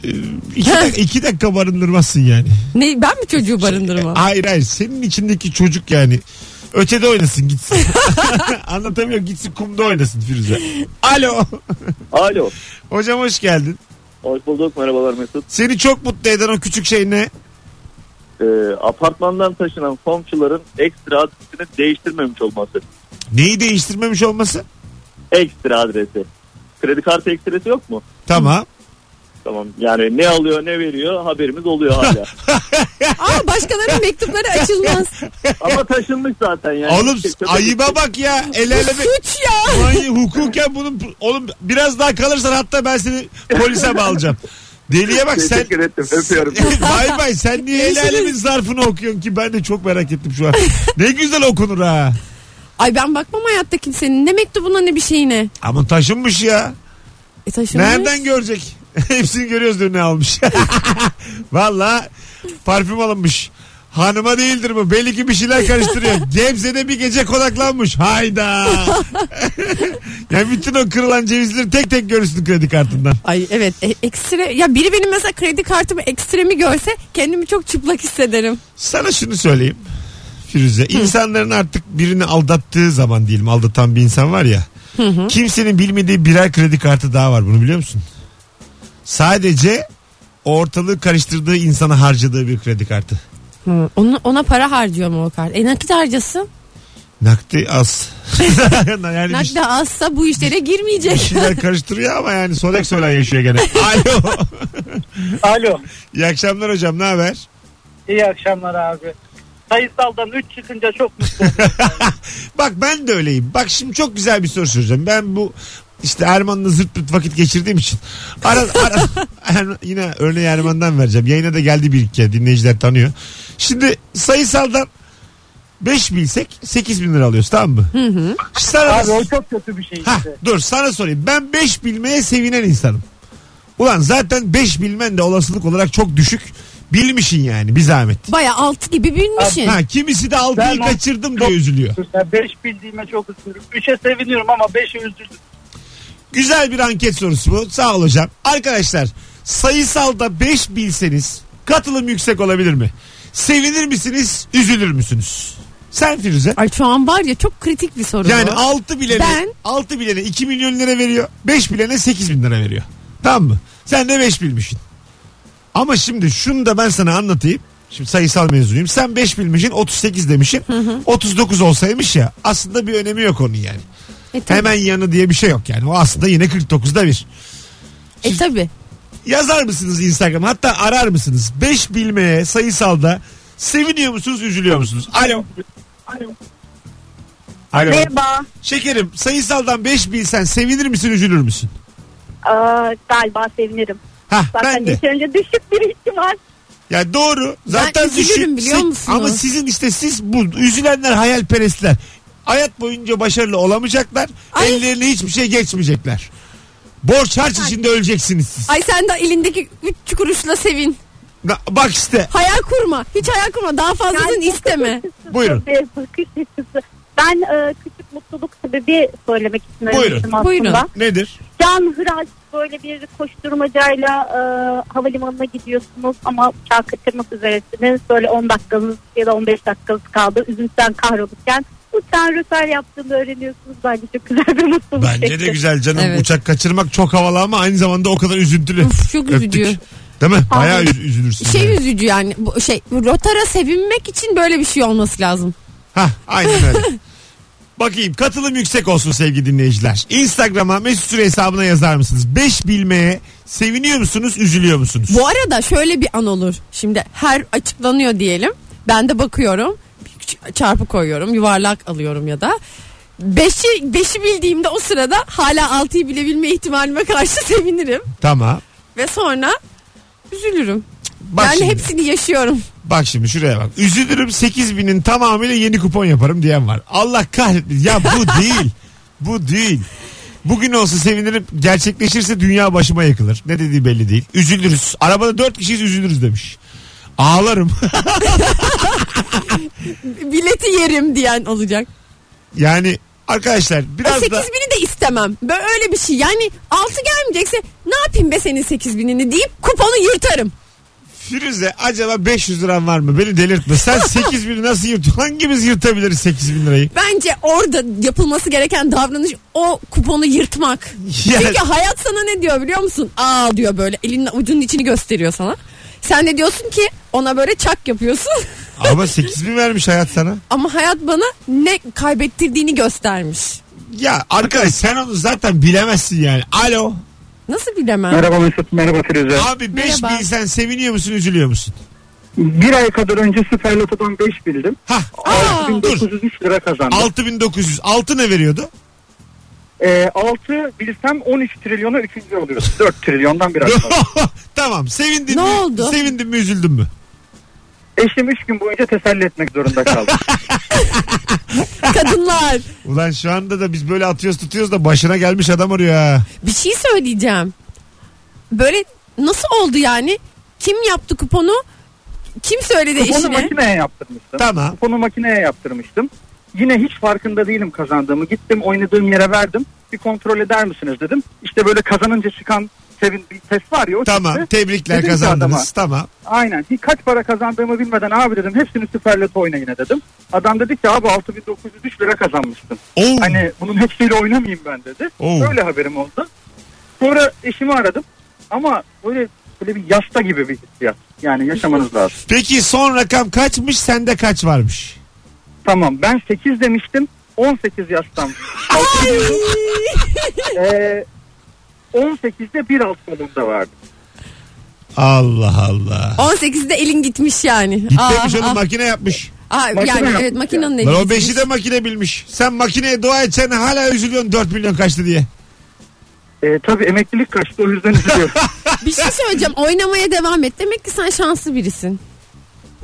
S2: e, iki, dak- iki dakika barındırmazsın yani E,
S3: Ne ben mi çocuğu
S2: Şey- (laughs)
S3: barındırmam?
S2: hayır hayır senin içindeki çocuk yani ötede oynasın gitsin (laughs) anlatamıyorum gitsin kumda oynasın Firuze alo (laughs)
S8: Alo.
S2: hocam hoş geldin
S8: Hoş bulduk. Merhabalar Mesut.
S2: seni çok mutlu eden o küçük şey ne
S8: Ee, apartmandan taşınan komşuların ekstra adresini değiştirmemiş olması.
S2: neyi değiştirmemiş olması
S8: Ekstra adresi. Kredi kartı ekstresi yok mu?
S2: Tamam.
S8: Tamam. Yani ne alıyor ne veriyor haberimiz oluyor
S2: (laughs)
S8: hala.
S3: Aa başkalarının mektupları açılmaz.
S8: Ama taşınmış zaten yani.
S2: Oğlum
S8: Çöpe
S2: ayıba bak ya. El
S3: Bu
S2: ele
S3: (laughs)
S2: bir-
S3: suç ya.
S2: Vay, hukuken bunun oğlum biraz daha kalırsan hatta ben seni polise bağlayacağım. Deliye bak sen. (laughs)
S5: Teşekkür ettim. Öpüyorum.
S2: Bay bay sen niye el alemin zarfını okuyorsun ki ben de çok merak ettim şu an. Ne güzel okunur ha.
S3: Ay ben bakmam hayatta kimsenin ne mektubuna ne bir şeyine.
S2: Ama taşınmış ya.
S3: E taşınmış.
S2: Nereden görecek? (laughs) Hepsini görüyoruz da ne almış. (laughs) Valla parfüm alınmış. Hanıma değildir bu. Belli ki bir şeyler karıştırıyor. Gebze'de bir gece konaklanmış. Hayda. (laughs) yani bütün o kırılan cevizleri tek tek görürsün kredi kartından.
S3: Ay evet e, ekstra ya biri benim mesela kredi kartımı ekstremi görse kendimi çok çıplak hissederim.
S2: Sana şunu söyleyeyim. Firuze. insanların artık birini aldattığı zaman diyelim aldatan bir insan var ya. kimsenin bilmediği birer kredi kartı daha var bunu biliyor musun? Sadece ortalığı karıştırdığı insana harcadığı bir kredi kartı.
S3: Hı, onu, ona para harcıyor mu o kart? E nakit harcasın.
S2: Nakdi az. yani bir, şey.
S3: Nakde azsa bu işlere
S2: bir (laughs)
S3: girmeyecek.
S2: şeyler karıştırıyor ama yani sodak soran yaşıyor gene. Alo.
S7: Alo.
S2: İyi akşamlar hocam ne haber?
S7: İyi akşamlar abi. Sayısaldan 3 çıkınca
S2: (laughs)
S7: çok mutlu oldum.
S2: Bak ben de öyleyim. Bak şimdi çok güzel bir soru soracağım. Ben bu işte Erman'la zırt pırt vakit geçirdiğim için. Ara, ara, (laughs) Erman- yine örneği Erman'dan vereceğim. Yayına da geldi bir iki kere. Dinleyiciler tanıyor. Şimdi sayısaldan 5 bilsek 8 bin lira alıyoruz tamam mı? Hı hı. Sana,
S7: abi o çok kötü bir şey
S2: Hah,
S7: işte.
S2: dur sana sorayım. Ben 5 bilmeye sevinen insanım. Ulan zaten 5 bilmen de olasılık olarak çok düşük. Bilmişin yani bir zahmet.
S3: Baya altı gibi bilmişsin.
S2: Ha, kimisi de
S7: Ben
S2: 6'yı
S7: o-
S2: kaçırdım diye üzülüyor.
S7: 5 bildiğime çok üzüldüm. 3'e seviniyorum ama 5'e üzüldüm.
S2: Güzel bir anket sorusu bu. Sağ ol hocam. Arkadaşlar sayısalda 5 bilseniz katılım yüksek olabilir mi? Sevinir misiniz? Üzülür müsünüz? Sen Firuze.
S3: Ay şu an var ya çok kritik bir soru
S2: Yani
S3: bu.
S2: 6 bilene,
S3: Ben-
S2: 6 bilene 2 milyon lira veriyor. 5 bilene 8 bin lira veriyor. Tamam mı? Sen de 5 bilmişsin. Ama şimdi şunu da ben sana anlatayım. Şimdi sayısal mezunuyum. Sen 5 bilmişsin 38 demişsin. 39 olsaymış ya. Aslında bir önemi yok onun yani.
S3: E tabi.
S2: Hemen yanı diye bir şey yok yani. O aslında yine 49'da bir.
S3: E tabi.
S2: Yazar mısınız Instagram? Hatta arar mısınız? 5 bilmeye sayısalda seviniyor musunuz, üzülüyor musunuz? Alo. Alo. Alo.
S9: Merhaba.
S2: Şekerim sayısaldan 5 bilsen sevinir misin, üzülür müsün?
S9: Aa, galiba sevinirim.
S2: Hah
S9: Zaten
S2: ben de.
S9: yeterince düşük bir ihtimal.
S2: Ya doğru. Zaten
S3: üzülürüm,
S2: düşün-
S3: biliyor
S2: si-
S3: musunuz?
S2: Ama sizin işte siz bu üzülenler hayalperestler. Hayat boyunca başarılı olamayacaklar.
S3: Ay.
S2: Ellerine hiçbir şey geçmeyecekler. Borç harç içinde öleceksiniz siz.
S3: Ay sen de elindeki üç kuruşla sevin.
S2: Na- Bak işte
S3: Hayal kurma. Hiç hayal kurma. Daha fazlasını
S9: Yani-
S3: isteme.
S2: buyurun.
S9: Bir bakış açısı. Ben e, küçük mutluluk sebebi söylemek için
S2: Buyurun.
S9: aramıştım aslında.
S3: Buyurun.
S2: Nedir?
S9: Can hıraç böyle bir koşturmacayla e, havalimanına gidiyorsunuz ama uçağı kaçırmak üzeresiniz. Böyle 10 dakikanız ya da 15 dakikanız kaldı. Üzüntüden kahrolurken uçağın rötar yaptığını öğreniyorsunuz. Bence çok güzel bir mutluluk.
S2: Bence de
S9: çekti.
S2: güzel canım.
S3: Evet.
S2: Uçak kaçırmak çok havalı ama aynı zamanda o kadar üzüntülü.
S3: Uf, çok
S2: Öptük.
S3: üzücü.
S2: Değil mi? Bayağı üz- üzülürsün.
S3: Şey
S2: yani.
S3: üzücü yani. Bu şey rotara sevinmek için böyle bir şey olması lazım.
S2: Hah aynen öyle. Bakayım katılım yüksek olsun sevgili dinleyiciler. Instagram'a Mesut Süre hesabına yazar mısınız? 5 bilmeye seviniyor musunuz, üzülüyor musunuz?
S3: Bu arada şöyle bir an olur. Şimdi her açıklanıyor diyelim. Ben de bakıyorum. Bir Çarpı koyuyorum. Yuvarlak alıyorum ya da. Beşi, beşi bildiğimde o sırada hala altıyı bilebilme ihtimalime karşı (laughs) sevinirim.
S2: Tamam.
S3: Ve sonra üzülürüm.
S2: Bak
S3: yani
S2: şimdi.
S3: hepsini yaşıyorum. (laughs)
S2: Bak şimdi şuraya bak. Üzülürüm 8000'in tamamıyla yeni kupon yaparım diyen var. Allah kahretmesin. Ya bu değil. Bu değil. Bugün olsa sevinirim. Gerçekleşirse dünya başıma yakılır. Ne dediği belli değil. Üzülürüz. Arabada dört kişiyiz üzülürüz demiş. Ağlarım. (laughs)
S3: Bileti yerim diyen olacak.
S2: yani arkadaşlar
S3: O
S2: biraz
S3: 8
S2: da
S3: bini de istemem. Böyle öyle bir şey. Yani altı gelmeyecekse ne yapayım be senin 8 binini deyip kuponu yırtarım.
S2: Firuze acaba 500 liran var mı? Beni delirtme. Sen 8000'i nasıl yırt? Hangimiz yırtabiliriz 8000 lirayı?
S3: Bence orada yapılması gereken davranış o kuponu yırtmak.
S2: (laughs) Ya-
S3: Çünkü hayat sana ne diyor biliyor musun? Aa diyor böyle elinin ucunun içini gösteriyor sana. Sen de diyorsun ki ona böyle çak yapıyorsun. (laughs)
S2: Ama 8000 vermiş hayat sana.
S3: Ama hayat bana ne kaybettirdiğini göstermiş.
S2: Ya arkadaş sen onu zaten bilemezsin yani. Alo.
S3: Nasıl
S2: (laughs)
S3: bilemem?
S5: Merhaba Mesut, merhaba Firuze.
S2: Abi 5
S3: Merhaba.
S2: bilsen seviniyor musun üzülüyor musun?
S5: Bir ay kadar önce Süper Loto'dan 5 bildim.
S2: Hah
S3: Aa,
S2: dur
S5: 903 lira kazandım.
S2: 6900 altı ne veriyordu? (laughs)
S5: Ee, 6 bilsem 13 trilyona 3. oluyoruz. 4 trilyondan biraz fazla.
S2: tamam sevindin
S3: Ne
S2: mi?
S3: oldu?
S2: Sevindin mi üzüldün mü?
S5: Eşim 3 gün boyunca teselli etmek zorunda kaldı.
S3: kadınlar.
S2: Ulan şu anda da biz böyle atıyoruz tutuyoruz da başına gelmiş adam arıyor ha.
S3: Bir şey söyleyeceğim. Böyle nasıl oldu yani? Kim yaptı kuponu? Kim söyledi
S5: Kuponu
S3: eşine?
S5: makineye yaptırmıştım.
S2: Tamam.
S5: Kuponu makineye yaptırmıştım. Yine hiç farkında değilim kazandığımı. Gittim oynadığım yere verdim. Bir kontrol eder misiniz dedim. İşte böyle kazanınca çıkan sevin bir ses var ya o
S2: Tamam
S5: çıktı.
S2: tebrikler
S5: Dedim ki adama,
S2: kazandınız tamam.
S5: Aynen. Hiç kaç para kazandığımı bilmeden abi dedim hepsini süperlet oyna yine dedim. Adam dedi ki abi 6903 lira kazanmıştım.
S2: Oo.
S5: Hani bunun hepsiyle oynamayayım ben dedi.
S2: Oo.
S5: Böyle haberim oldu. Sonra eşimi aradım ama böyle böyle bir yasta gibi bir hissiyat. Yani yaşamanız lazım.
S2: Peki son rakam kaçmış sende kaç varmış?
S5: Tamam ben 8 demiştim. 18 yaştan.
S2: (laughs)
S5: ee, 18'de 1.6 kolumda vardı.
S2: Allah Allah.
S3: 18'de elin gitmiş yani.
S2: Gitmemiş onu
S3: ah.
S2: makine yapmış.
S3: Aa,
S5: Makine
S3: yani
S5: yapmış
S3: evet
S5: ya.
S3: makinenin eli
S2: Lan o
S3: gitmiş.
S2: 5'i de makine bilmiş. Sen makineye dua etsen hala üzülüyorsun 4 milyon kaçtı diye.
S5: Ee, tabii emeklilik kaçtı o
S2: (laughs)
S5: yüzden üzülüyorum.
S3: Bir şey söyleyeceğim. Oynamaya devam et. Demek ki sen şanslı birisin.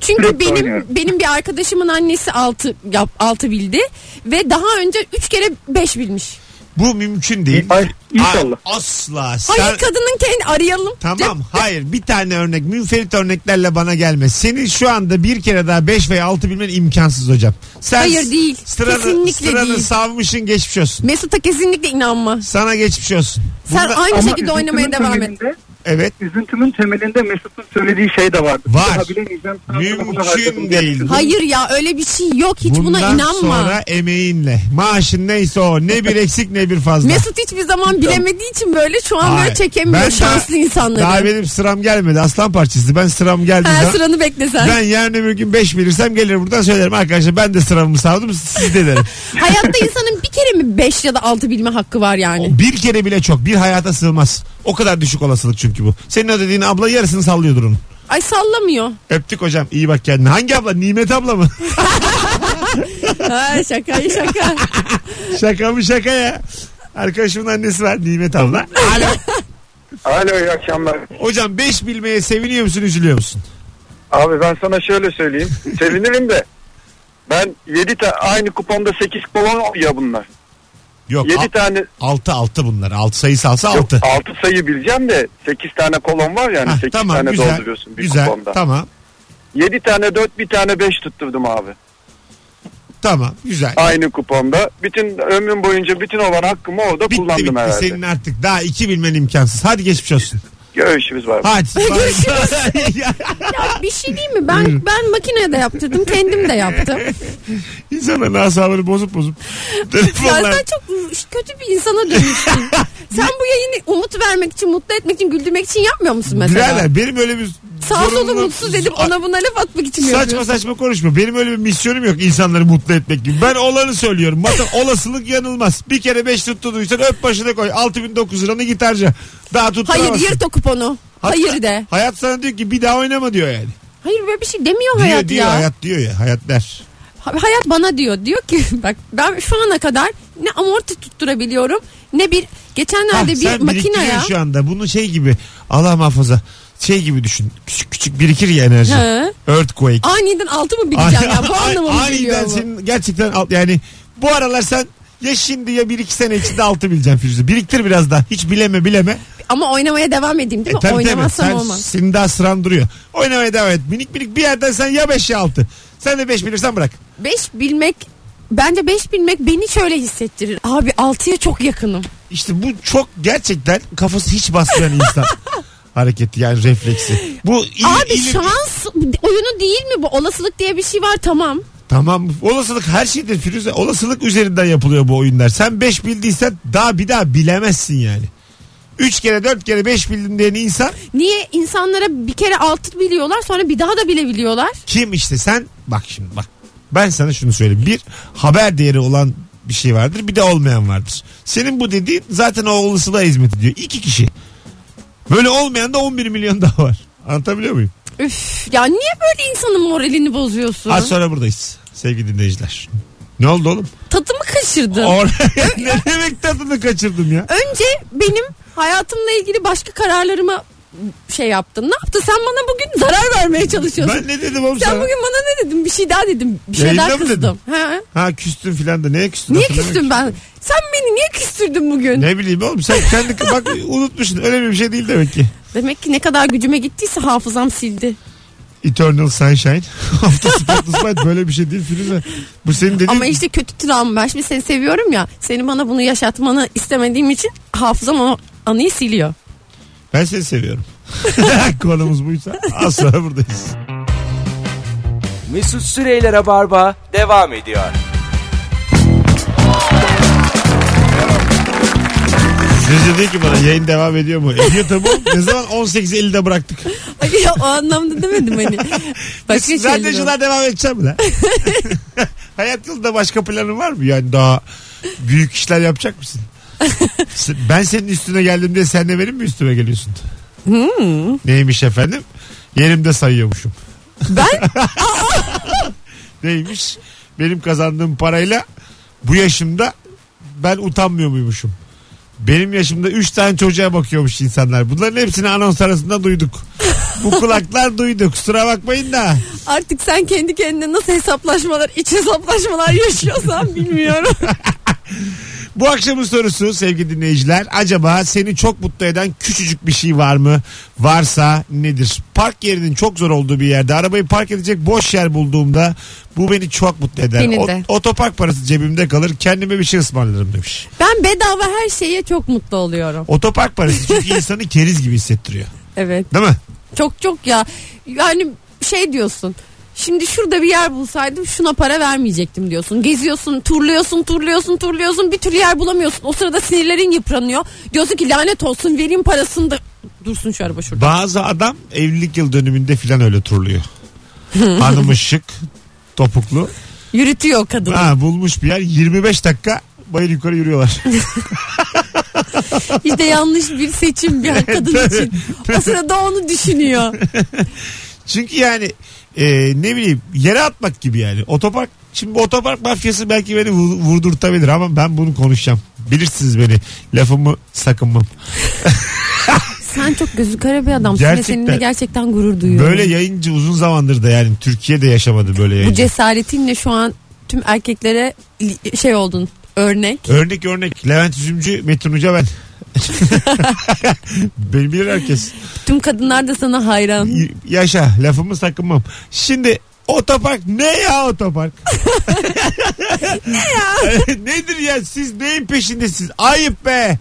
S3: Çünkü
S5: Sürekli
S3: benim
S5: oynuyorum.
S3: benim bir arkadaşımın annesi 6 yap 6 bildi ve daha önce 3 kere 5 bilmiş.
S2: Bu mümkün değil.
S5: Ay, inşallah.
S2: A- Asla.
S3: Hayır
S2: Sen-
S3: kadının kendi arayalım.
S2: Tamam hayır bir tane örnek münferit örneklerle bana gelme. Senin şu anda bir kere daha 5 veya 6 bilmen imkansız hocam. Sen
S3: Hayır, değil.
S2: Sıranı,
S3: Kesinlikle
S2: sıranı
S3: değil.
S2: savmışın geçmiş olsun.
S3: Mesut'a kesinlikle inanma.
S2: Sana geçmiş olsun.
S3: Sen
S2: Bunda-
S3: aynı
S5: Ama
S3: şekilde
S5: üzüntünün
S3: oynamaya devam et.
S5: temelinde
S2: Evet.
S5: Üzüntümün temelinde Mesut'un söylediği şey de vardı.
S2: Var.
S5: Daha bilemeyeceğim. Sana
S2: Mümkün
S5: bunu harcadım diye
S2: değil.
S5: düşündüm.
S3: Hayır ya öyle bir şey yok hiç buna
S2: Bundan
S3: inanma.
S2: sonra emeğinle. Maaşın neyse o. Ne bir eksik ne bir fazla.
S3: Mesut hiçbir zaman bilemediği için böyle şu an
S2: Hayır.
S3: böyle çekemiyor
S2: Ben
S3: şanslı
S2: daha-
S3: insanları.
S2: Daha benim sıram gelmedi. Aslan parçası. Ben sıram geldi.
S3: Her sıranı beklesen.
S2: Ben yarın öbür gün 5 bilirsem gelir buradan söylerim. Arkadaşlar ben de sıramı savdum siz de
S3: (laughs)
S2: derim.
S3: Hayatta insanın bir kere mi 5 ya da 6 bilme hakkı var yani?
S2: bir kere bile çok. Bir hayata sığmaz. O kadar düşük olasılık çünkü bu. Senin o dediğin abla yarısını sallıyordur onun. (laughs)
S3: Ay sallamıyor.
S2: Öptük hocam. iyi bak kendine. Hangi abla? Nimet abla mı? (laughs)
S3: Ha, şaka şaka.
S2: şaka mı şaka ya. Arkadaşımın annesi var Nimet abla. Alo.
S8: Alo iyi akşamlar.
S2: Hocam 5 bilmeye seviniyor musun üzülüyor musun?
S8: Abi ben sana
S2: (laughs)
S8: şöyle söyleyeyim. Sevinirim de. Ben 7 tane aynı kuponda 8 kupon ya bunlar.
S2: Yok
S8: 7 tane
S2: 6 6 bunlar. 6 sayısı alsa
S8: yok
S2: 6.
S8: 6 sayı bileceğim de 8 tane kolon var yani 8
S2: tamam
S8: tane
S2: güzel.
S8: dolduruyorsun bir
S2: Güzel.
S8: kuponda.
S2: Tamam.
S8: 7 tane 4 bir tane 5 tutturdum abi.
S2: Tamam. Güzel.
S8: Aynı kuponda. Bütün ömrüm boyunca bütün olan hakkımı orada
S2: Bitti
S8: kullandım
S2: bitti
S8: herhalde.
S2: senin artık. Daha 2 bilmen imkansız. Hadi geçmiş olsun.
S8: Görüşürüz var.
S2: Hadi. (laughs)
S3: Ya bir şey değil mi?
S2: Hmm.
S3: Ben ben makineye de yaptırdım, kendim
S2: (laughs)
S3: de yaptım.
S2: İnsanların asabını bozup bozup.
S3: Ya
S2: Telefonlar.
S3: sen çok kötü bir insana
S2: (laughs)
S3: dönüştün. sen bu yayını umut vermek için, mutlu etmek için, güldürmek için yapmıyor musun mesela?
S2: Birader benim öyle bir
S3: Sağ solu
S2: zorunluluğum-
S3: mutsuz edip ona buna laf atmak için mi
S2: Saçma
S3: yapıyorsun?
S2: saçma konuşma. Benim öyle bir misyonum yok insanları mutlu etmek gibi. Ben olanı söylüyorum. Mata,
S3: (laughs)
S2: olasılık yanılmaz. Bir kere 5 tutturduysan öp başına koy. 6900 liranı git harca. Daha tutturamazsın.
S3: Hayır yırt o kuponu.
S2: Hatta
S3: Hayır de.
S2: Hayat sana diyor ki bir daha oynama diyor yani.
S3: Hayır böyle bir şey demiyor
S2: Diyor
S3: hayat
S2: diyor
S3: ya.
S2: hayat diyor ya. Hayat der.
S3: Ha- Hayat bana diyor. Diyor ki (laughs) bak ben şu ana kadar ne amorti tutturabiliyorum ne bir
S2: Ha,
S3: geçenlerde bir
S2: sen
S3: makineye
S2: biriktiriyorsun şu anda. Bunu şey gibi Allah muhafaza şey gibi düşün. Küçük küçük birikir ya enerji.
S3: He.
S2: Earthquake.
S3: aniden altı mı bileceğim ya bu anlamı mı geliyor
S2: Aniden
S3: bu?
S2: senin gerçekten alt yani bu aralar sen ya şimdi ya bir iki sene içinde altı bileceksin Firuze. Biriktir biraz daha. Hiç bileme bileme.
S3: Ama oynamaya devam edeyim
S2: E,
S3: değil mi?
S2: tabii tabii.
S3: Oynamazsam
S2: Sen,
S3: olmaz.
S2: senin daha sıran duruyor. Oynamaya devam et. Minik minik bir yerden sen ya beş ya altı. Sen de beş bilirsen bırak.
S3: Beş bilmek bence beş bilmek beni şöyle hissettirir. Abi altıya çok yakınım.
S2: İşte bu çok gerçekten kafası hiç basmayan
S3: (laughs)
S2: insan hareketi yani refleksi. Bu il,
S3: Abi
S2: il-
S3: şans oyunu değil mi bu? Olasılık diye bir şey var tamam.
S2: Tamam olasılık her şeydir Firuze. Olasılık üzerinden yapılıyor bu oyunlar. Sen 5 bildiysen daha bir daha bilemezsin yani. 3 kere 4 kere 5 bildim diyen insan
S3: Niye insanlara bir kere altı biliyorlar sonra bir daha da bilebiliyorlar?
S2: kim işte sen bak şimdi bak. Ben sana şunu söyleyeyim. Bir haber değeri olan bir şey vardır bir de olmayan vardır. Senin bu dediğin zaten o olasılığa hizmet ediyor. İki kişi. Böyle olmayan da 11 milyon daha var. Anlatabiliyor muyum?
S3: Üf ya niye böyle insanın moralini bozuyorsun?
S2: Az sonra buradayız sevgili dinleyiciler. Ne oldu oğlum?
S3: Tadımı kaçırdın.
S2: Oraya (laughs) ne demek tadını kaçırdım ya?
S3: Önce benim hayatımla ilgili başka kararlarıma şey yaptın. Ne yaptın? Sen bana bugün zarar vermeye çalışıyorsun.
S2: Ben ne dedim oğlum
S3: Sen
S2: sana?
S3: bugün bana ne dedin? Bir şey daha dedim. Bir şey
S2: Yayında
S3: daha
S2: mı
S3: kızdım. Ha?
S2: Ha küstün filan da neye küstün?
S3: Niye
S2: Hatırlamıyorum
S3: küstüm
S2: ki.
S3: ben? Sen beni niye küstürdün bugün?
S2: Ne bileyim oğlum sen
S3: (laughs)
S2: kendi bak unutmuşsun. Önemli bir şey değil demek ki.
S3: Demek ki ne kadar gücüme gittiyse hafızam sildi.
S2: Eternal Sunshine. (laughs) After Spotless Night böyle bir şey değil Firuze. Bu senin dediğin.
S3: Ama işte kötü travma. Ben şimdi seni seviyorum ya. Seni bana bunu yaşatmanı istemediğim için hafızam o anıyı siliyor. (laughs)
S2: Ben seni seviyorum. (laughs) Konumuz buysa az sonra buradayız.
S1: Mesut Süreyler'e barba devam ediyor.
S2: Firuze diyor ki bana yayın devam ediyor mu? Ediyor tabii. oğlum. ne zaman 18.50'de bıraktık.
S3: Ay, ya, o anlamda demedim
S2: (laughs)
S3: hani. Başka
S2: Biz
S3: şeyler oldu.
S2: radyocular devam edeceğim mi lan? Hayat yolunda başka planın var mı? Yani daha büyük işler yapacak mısın? Se- ben senin üstüne geldim diye sen de benim mi üstüme geliyorsun? Neymiş efendim? Yerimde sayıyormuşum. Ben? (laughs) Neymiş? Benim kazandığım parayla bu yaşımda ben utanmıyor muymuşum? Benim yaşımda 3 tane çocuğa bakıyormuş insanlar. Bunların hepsini anons arasında duyduk. Bu kulaklar duydu. Kusura bakmayın da.
S3: Artık sen kendi kendine nasıl hesaplaşmalar, iç hesaplaşmalar (laughs) yaşıyorsan bilmiyorum.
S2: Bu akşamın sorusu sevgili dinleyiciler. Acaba seni çok mutlu eden küçücük bir şey var mı? Varsa nedir? Park yerinin çok zor olduğu bir yerde arabayı park edecek boş yer bulduğumda bu beni çok mutlu eder.
S3: Beni
S2: O-
S3: de.
S2: otopark parası cebimde kalır kendime bir şey ısmarlarım demiş.
S3: ben bedava her şeye çok mutlu oluyorum.
S2: Otopark parası çünkü insanı keriz gibi hissettiriyor.
S3: Evet.
S2: Değil mi?
S3: Çok çok ya. Yani şey diyorsun. Şimdi şurada bir yer bulsaydım şuna para vermeyecektim diyorsun. Geziyorsun, turluyorsun, turluyorsun, turluyorsun. Bir türlü yer bulamıyorsun. O sırada sinirlerin yıpranıyor. Diyorsun ki lanet olsun vereyim parasını da. Dursun şu araba şurada.
S2: Bazı adam evlilik yıl dönümünde filan öyle turluyor. Hanımı şık, topuklu.
S3: Yürütüyor (laughs) kadını.
S2: Ha, bulmuş bir yer 25 dakika bayır yukarı yürüyorlar.
S3: İşte yanlış bir seçim (laughs) bir kadın için. O sırada onu düşünüyor.
S2: Çünkü yani e, ne bileyim yere atmak gibi yani. Otopark Şimdi bu otopark mafyası belki beni vu- vurdurtabilir ama ben bunu konuşacağım. Bilirsiniz beni. Lafımı sakınmam.
S3: Sen çok gözü kara bir adamsın ve
S2: Gerçekten.
S3: seninle gerçekten gurur duyuyorum.
S2: Böyle yayıncı uzun zamandır da yani Türkiye'de yaşamadı böyle
S3: Bu
S2: yayıncı.
S3: cesaretinle şu an tüm erkeklere li- şey oldun örnek.
S2: Örnek örnek. Levent Üzümcü, Metin Uca ben. (laughs) Beni bilir herkes.
S3: Tüm kadınlar da sana hayran.
S2: Y- Yaşa lafımı sakınmam. Şimdi otopark ne ya
S3: (laughs)
S2: otopark? ne ya? Nedir ya siz neyin peşindesiniz? Ayıp be.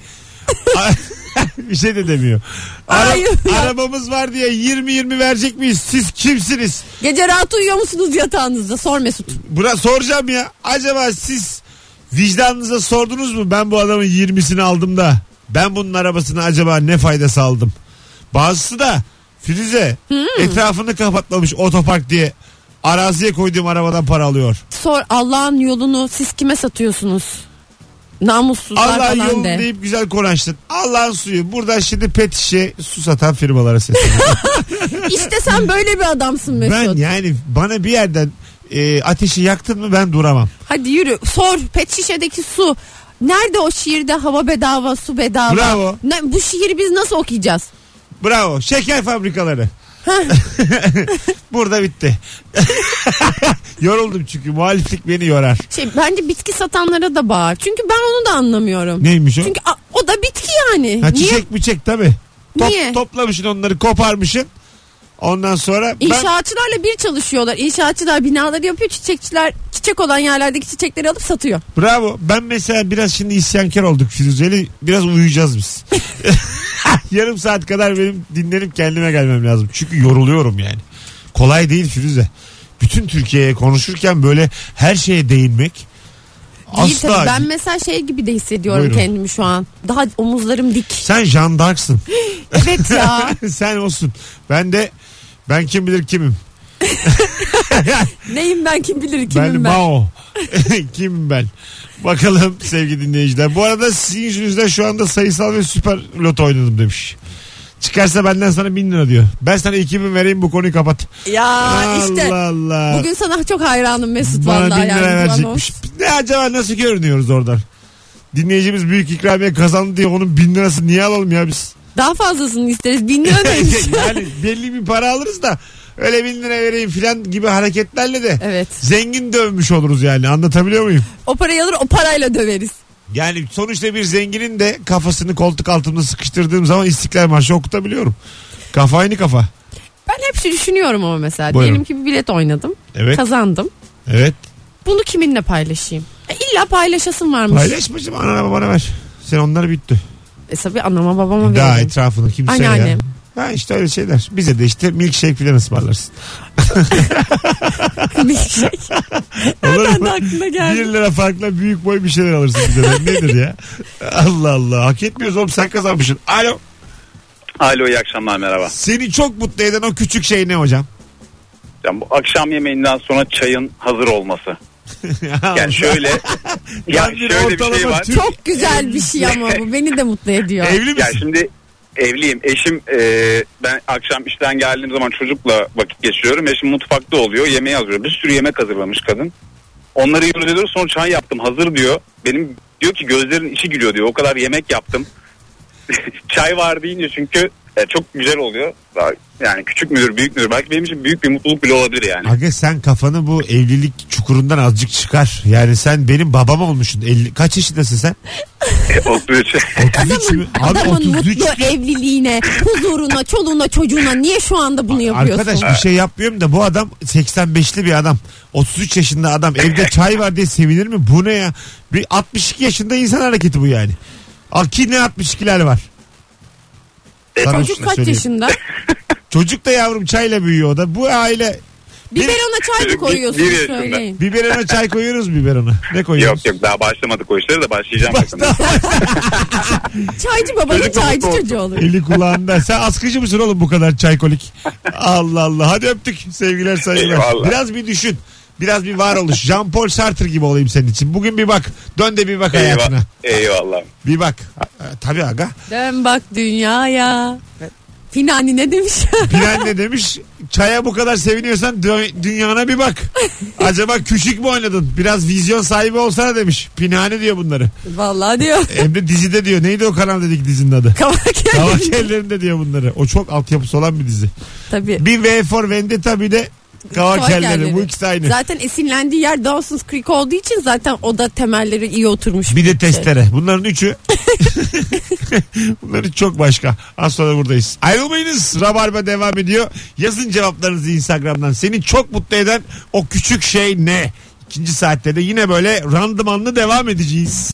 S2: A- (laughs) bir şey de demiyor. Ara-
S3: Ayıp ya.
S2: arabamız var diye 20-20 verecek miyiz? Siz kimsiniz?
S3: Gece rahat uyuyor musunuz yatağınızda? Sor Mesut.
S2: Buna soracağım ya. Acaba siz vicdanınıza sordunuz mu? Ben bu adamın 20'sini aldım da ben bunun arabasına acaba ne faydası aldım? Bazısı da Firuze
S3: Hmm.
S2: etrafını kapatmamış otopark diye araziye koyduğum arabadan para alıyor.
S3: Sor Allah'ın yolunu siz kime satıyorsunuz? Namussuzlar
S2: Allah'ın
S3: falan
S2: yolunu
S3: de.
S2: deyip güzel konuştun. Allah'ın suyu. Buradan şimdi pet şişe su satan firmalara sesleniyorum.
S3: İşte sen böyle bir adamsın
S2: ben
S3: Mesut.
S2: yani bana bir yerden e, ateşi yaktın mı ben duramam.
S3: Hadi yürü. Sor pet şişedeki su. Nerede o şiirde hava bedava, su bedava?
S2: Bravo.
S3: Ne- bu şiiri biz nasıl okuyacağız?
S2: Bravo. Şeker fabrikaları. (laughs) Burada bitti. (laughs) Yoruldum çünkü muhaliflik beni yorar.
S3: Şey bence bitki satanlara da bağır. Çünkü ben onu da anlamıyorum.
S2: Neymiş o?
S3: Çünkü a- o da bitki yani.
S2: ha,
S3: Niye?
S2: çiçek bıçak tabi. Top,
S3: Niye?
S2: Toplamışsın onları koparmışsın. Ondan sonra ben
S3: İnşaatçılarla bir çalışıyorlar. İnşaatçılar binaları yapıyor. Çiçekçiler çiçek olan yerlerdeki çiçekleri alıp satıyor.
S2: bravo ben mesela biraz şimdi isyankar olduk Firuzeli biraz uyuyacağız biz. (laughs) Yarım saat kadar benim dinlenip kendime gelmem lazım. Çünkü yoruluyorum yani. Kolay değil Firuze. Bütün Türkiye'ye konuşurken böyle her şeye değinmek
S3: Değil
S2: asla
S3: tabii. Ben mesela şey gibi de hissediyorum
S2: Buyurun.
S3: kendimi şu an. Daha omuzlarım dik.
S2: Sen Jean d'Arc'sın. (laughs)
S3: Evet ya.
S2: Sen olsun. Ben de ben kim bilir
S3: (laughs)
S2: kimim.
S3: Neyim ben kim bilir kimim
S2: ben,
S3: ben.
S2: Mao. (laughs) kimim ben? Bakalım sevgili dinleyiciler. Bu arada sizin yüzünüzden şu anda sayısal ve süper loto oynadım demiş. Çıkarsa benden sana bin lira diyor. Ben sana iki bin vereyim bu konuyu kapat.
S3: Ya işte.
S2: Allah Allah.
S3: Bugün sana çok hayranım Mesut
S2: Bana bin
S3: vallahi
S2: lira
S3: yani. bu
S2: verecekmiş. Ne acaba nasıl görünüyoruz oradan? Dinleyicimiz büyük ikramiye kazandı diye onun bin lirası niye alalım ya biz?
S3: anons. Daha fazlasını isteriz.
S2: (laughs)
S3: Bin lira neymiş?
S2: yani belli bir para alırız da öyle bin lira vereyim filan gibi hareketlerle de
S3: Evet.
S2: zengin dövmüş oluruz yani anlatabiliyor muyum?
S3: O parayı alır o parayla döveriz.
S2: Yani sonuçta bir zenginin de kafasını koltuk altımda sıkıştırdığım zaman İstiklal Marşı okutabiliyorum. Kafa aynı kafa.
S3: Ben hep şey düşünüyorum ama mesela.
S2: Buyurun.
S3: Diyelim ki bir bilet oynadım.
S2: Evet.
S3: Kazandım.
S2: Evet.
S3: Bunu kiminle paylaşayım? E, illa paylaşasın varmış.
S2: Paylaşmacım anana bana ver. Sen onlar bitti.
S3: E tabii anama babama
S2: Daha
S3: (laughs) veririm.
S2: etrafını kimse ya.
S3: Anneannem.
S2: Ha işte öyle şeyler. Bize de işte milkshake filan ısmarlarsın.
S3: Milkshake.
S2: (laughs) Olur
S3: (laughs) Ben
S2: mu?
S3: de aklına
S2: Bir
S3: geldi.
S2: lira farkla büyük boy bir şeyler alırsın bize de. Nedir ya? Allah Allah. Hak etmiyoruz oğlum sen kazanmışsın. Alo.
S10: Alo iyi akşamlar merhaba.
S2: Seni çok mutlu eden o küçük şey ne hocam?
S10: Yani bu akşam yemeğinden sonra çayın hazır olması.
S2: (laughs)
S10: Yani şöyle ya
S2: Lan bir
S10: şöyle bir şey
S2: ortalama
S10: var.
S2: Türk- E,
S3: Çok güzel bir şey ama bu. Beni de mutlu ediyor.
S2: Evli misin?
S10: Ya şimdi evliyim. Eşim e, ben akşam işten geldiğim zaman çocukla vakit geçiriyorum. Eşim mutfakta oluyor. Yemeği hazırlıyor. Bir sürü yemek hazırlamış kadın. Onları yürütüyoruz. Sonra çay yaptım. Hazır diyor. Benim diyor ki gözlerin içi gülüyor diyor. O kadar yemek yaptım. (laughs) çay var deyince çünkü e, çok güzel oluyor. Daha- Yani küçük müdür, büyük müdür. Belki benim için büyük bir mutluluk bile olabilir yani.
S2: Aga sen kafanı bu evlilik çukurundan azıcık çıkar. Yani sen benim babam olmuşsun. 50, kaç yaşındasın sen?
S10: (laughs) E, o süreç-
S2: 33 mü? Abi
S3: Adamın
S2: 33
S3: mutlu
S2: diyor.
S3: evliliğine, huzuruna, çoluğuna, çocuğuna niye şu anda bunu yapıyorsun?
S2: Arkadaş bir şey yapmıyorum da bu adam 85'li bir adam. 33 yaşında adam
S10: (laughs)
S2: evde çay var diye sevinir mi? Bu ne ya? Bir 62 yaşında insan hareketi bu yani. Al ki ne 62'ler var. Sana
S3: E, Çocuk kaç
S2: söyleyeyim.
S3: yaşında?
S2: Çocuk da yavrum çayla büyüyor o da. Bu aile
S3: Biberona çay mı
S10: Çocuk bir-
S3: koyuyorsunuz
S10: bir yaşında.
S3: söyleyin.
S2: biberona çay koyuyoruz biberona. Ne koyuyoruz?
S10: Yok yok daha başlamadık o işlere de başlayacağım yakında.
S2: Başta
S3: Çaycı babanın
S10: Çocuk da
S3: çaycı
S10: mutlu
S3: çocuğu olur.
S2: eli kulağında. Sen askıcı mısın oğlum bu kadar çaykolik? Allah Allah. Hadi öptük. Sevgiler saygılar.
S10: Eyvallah.
S2: Biraz bir düşün. Biraz bir varoluş. Jean Paul Sartre gibi olayım senin için. Bugün bir bak. Dön de bir bak hayatına.
S10: Eyvallah. Eyvallah.
S2: Bir bak. Ee, tabii aga.
S3: Dön bak dünyaya. Finani ne demiş? (laughs)
S2: Bilen ne demiş? Çaya bu kadar seviniyorsan dö- dünyana bir bak. Acaba küçük mü oynadın? Biraz vizyon sahibi olsana demiş. Pinhane diyor bunları.
S3: Vallahi diyor.
S2: Hem de dizide diyor. Neydi o kanal dedik dizinin adı?
S3: Kavak (laughs)
S2: Tavak
S3: yani.
S2: ellerinde diyor bunları. O çok altyapısı olan bir dizi.
S3: Tabii.
S2: Bir V for Vendetta bir de
S3: Kavak
S2: Kavakelleri.
S3: yerleri.
S2: Bu ikisi aynı.
S3: Zaten esinlendiği yer Dawson's Creek olduğu için zaten o da temelleri iyi oturmuş.
S2: Bir de
S3: şey.
S2: testere. Bunların üçü. (laughs) Bunların çok başka. Az sonra buradayız. Ayrılmayınız. Rabarba devam ediyor. Yazın cevaplarınızı Instagram'dan. Seni çok mutlu eden o küçük şey ne? İkinci saatte de yine böyle randımanlı devam edeceğiz.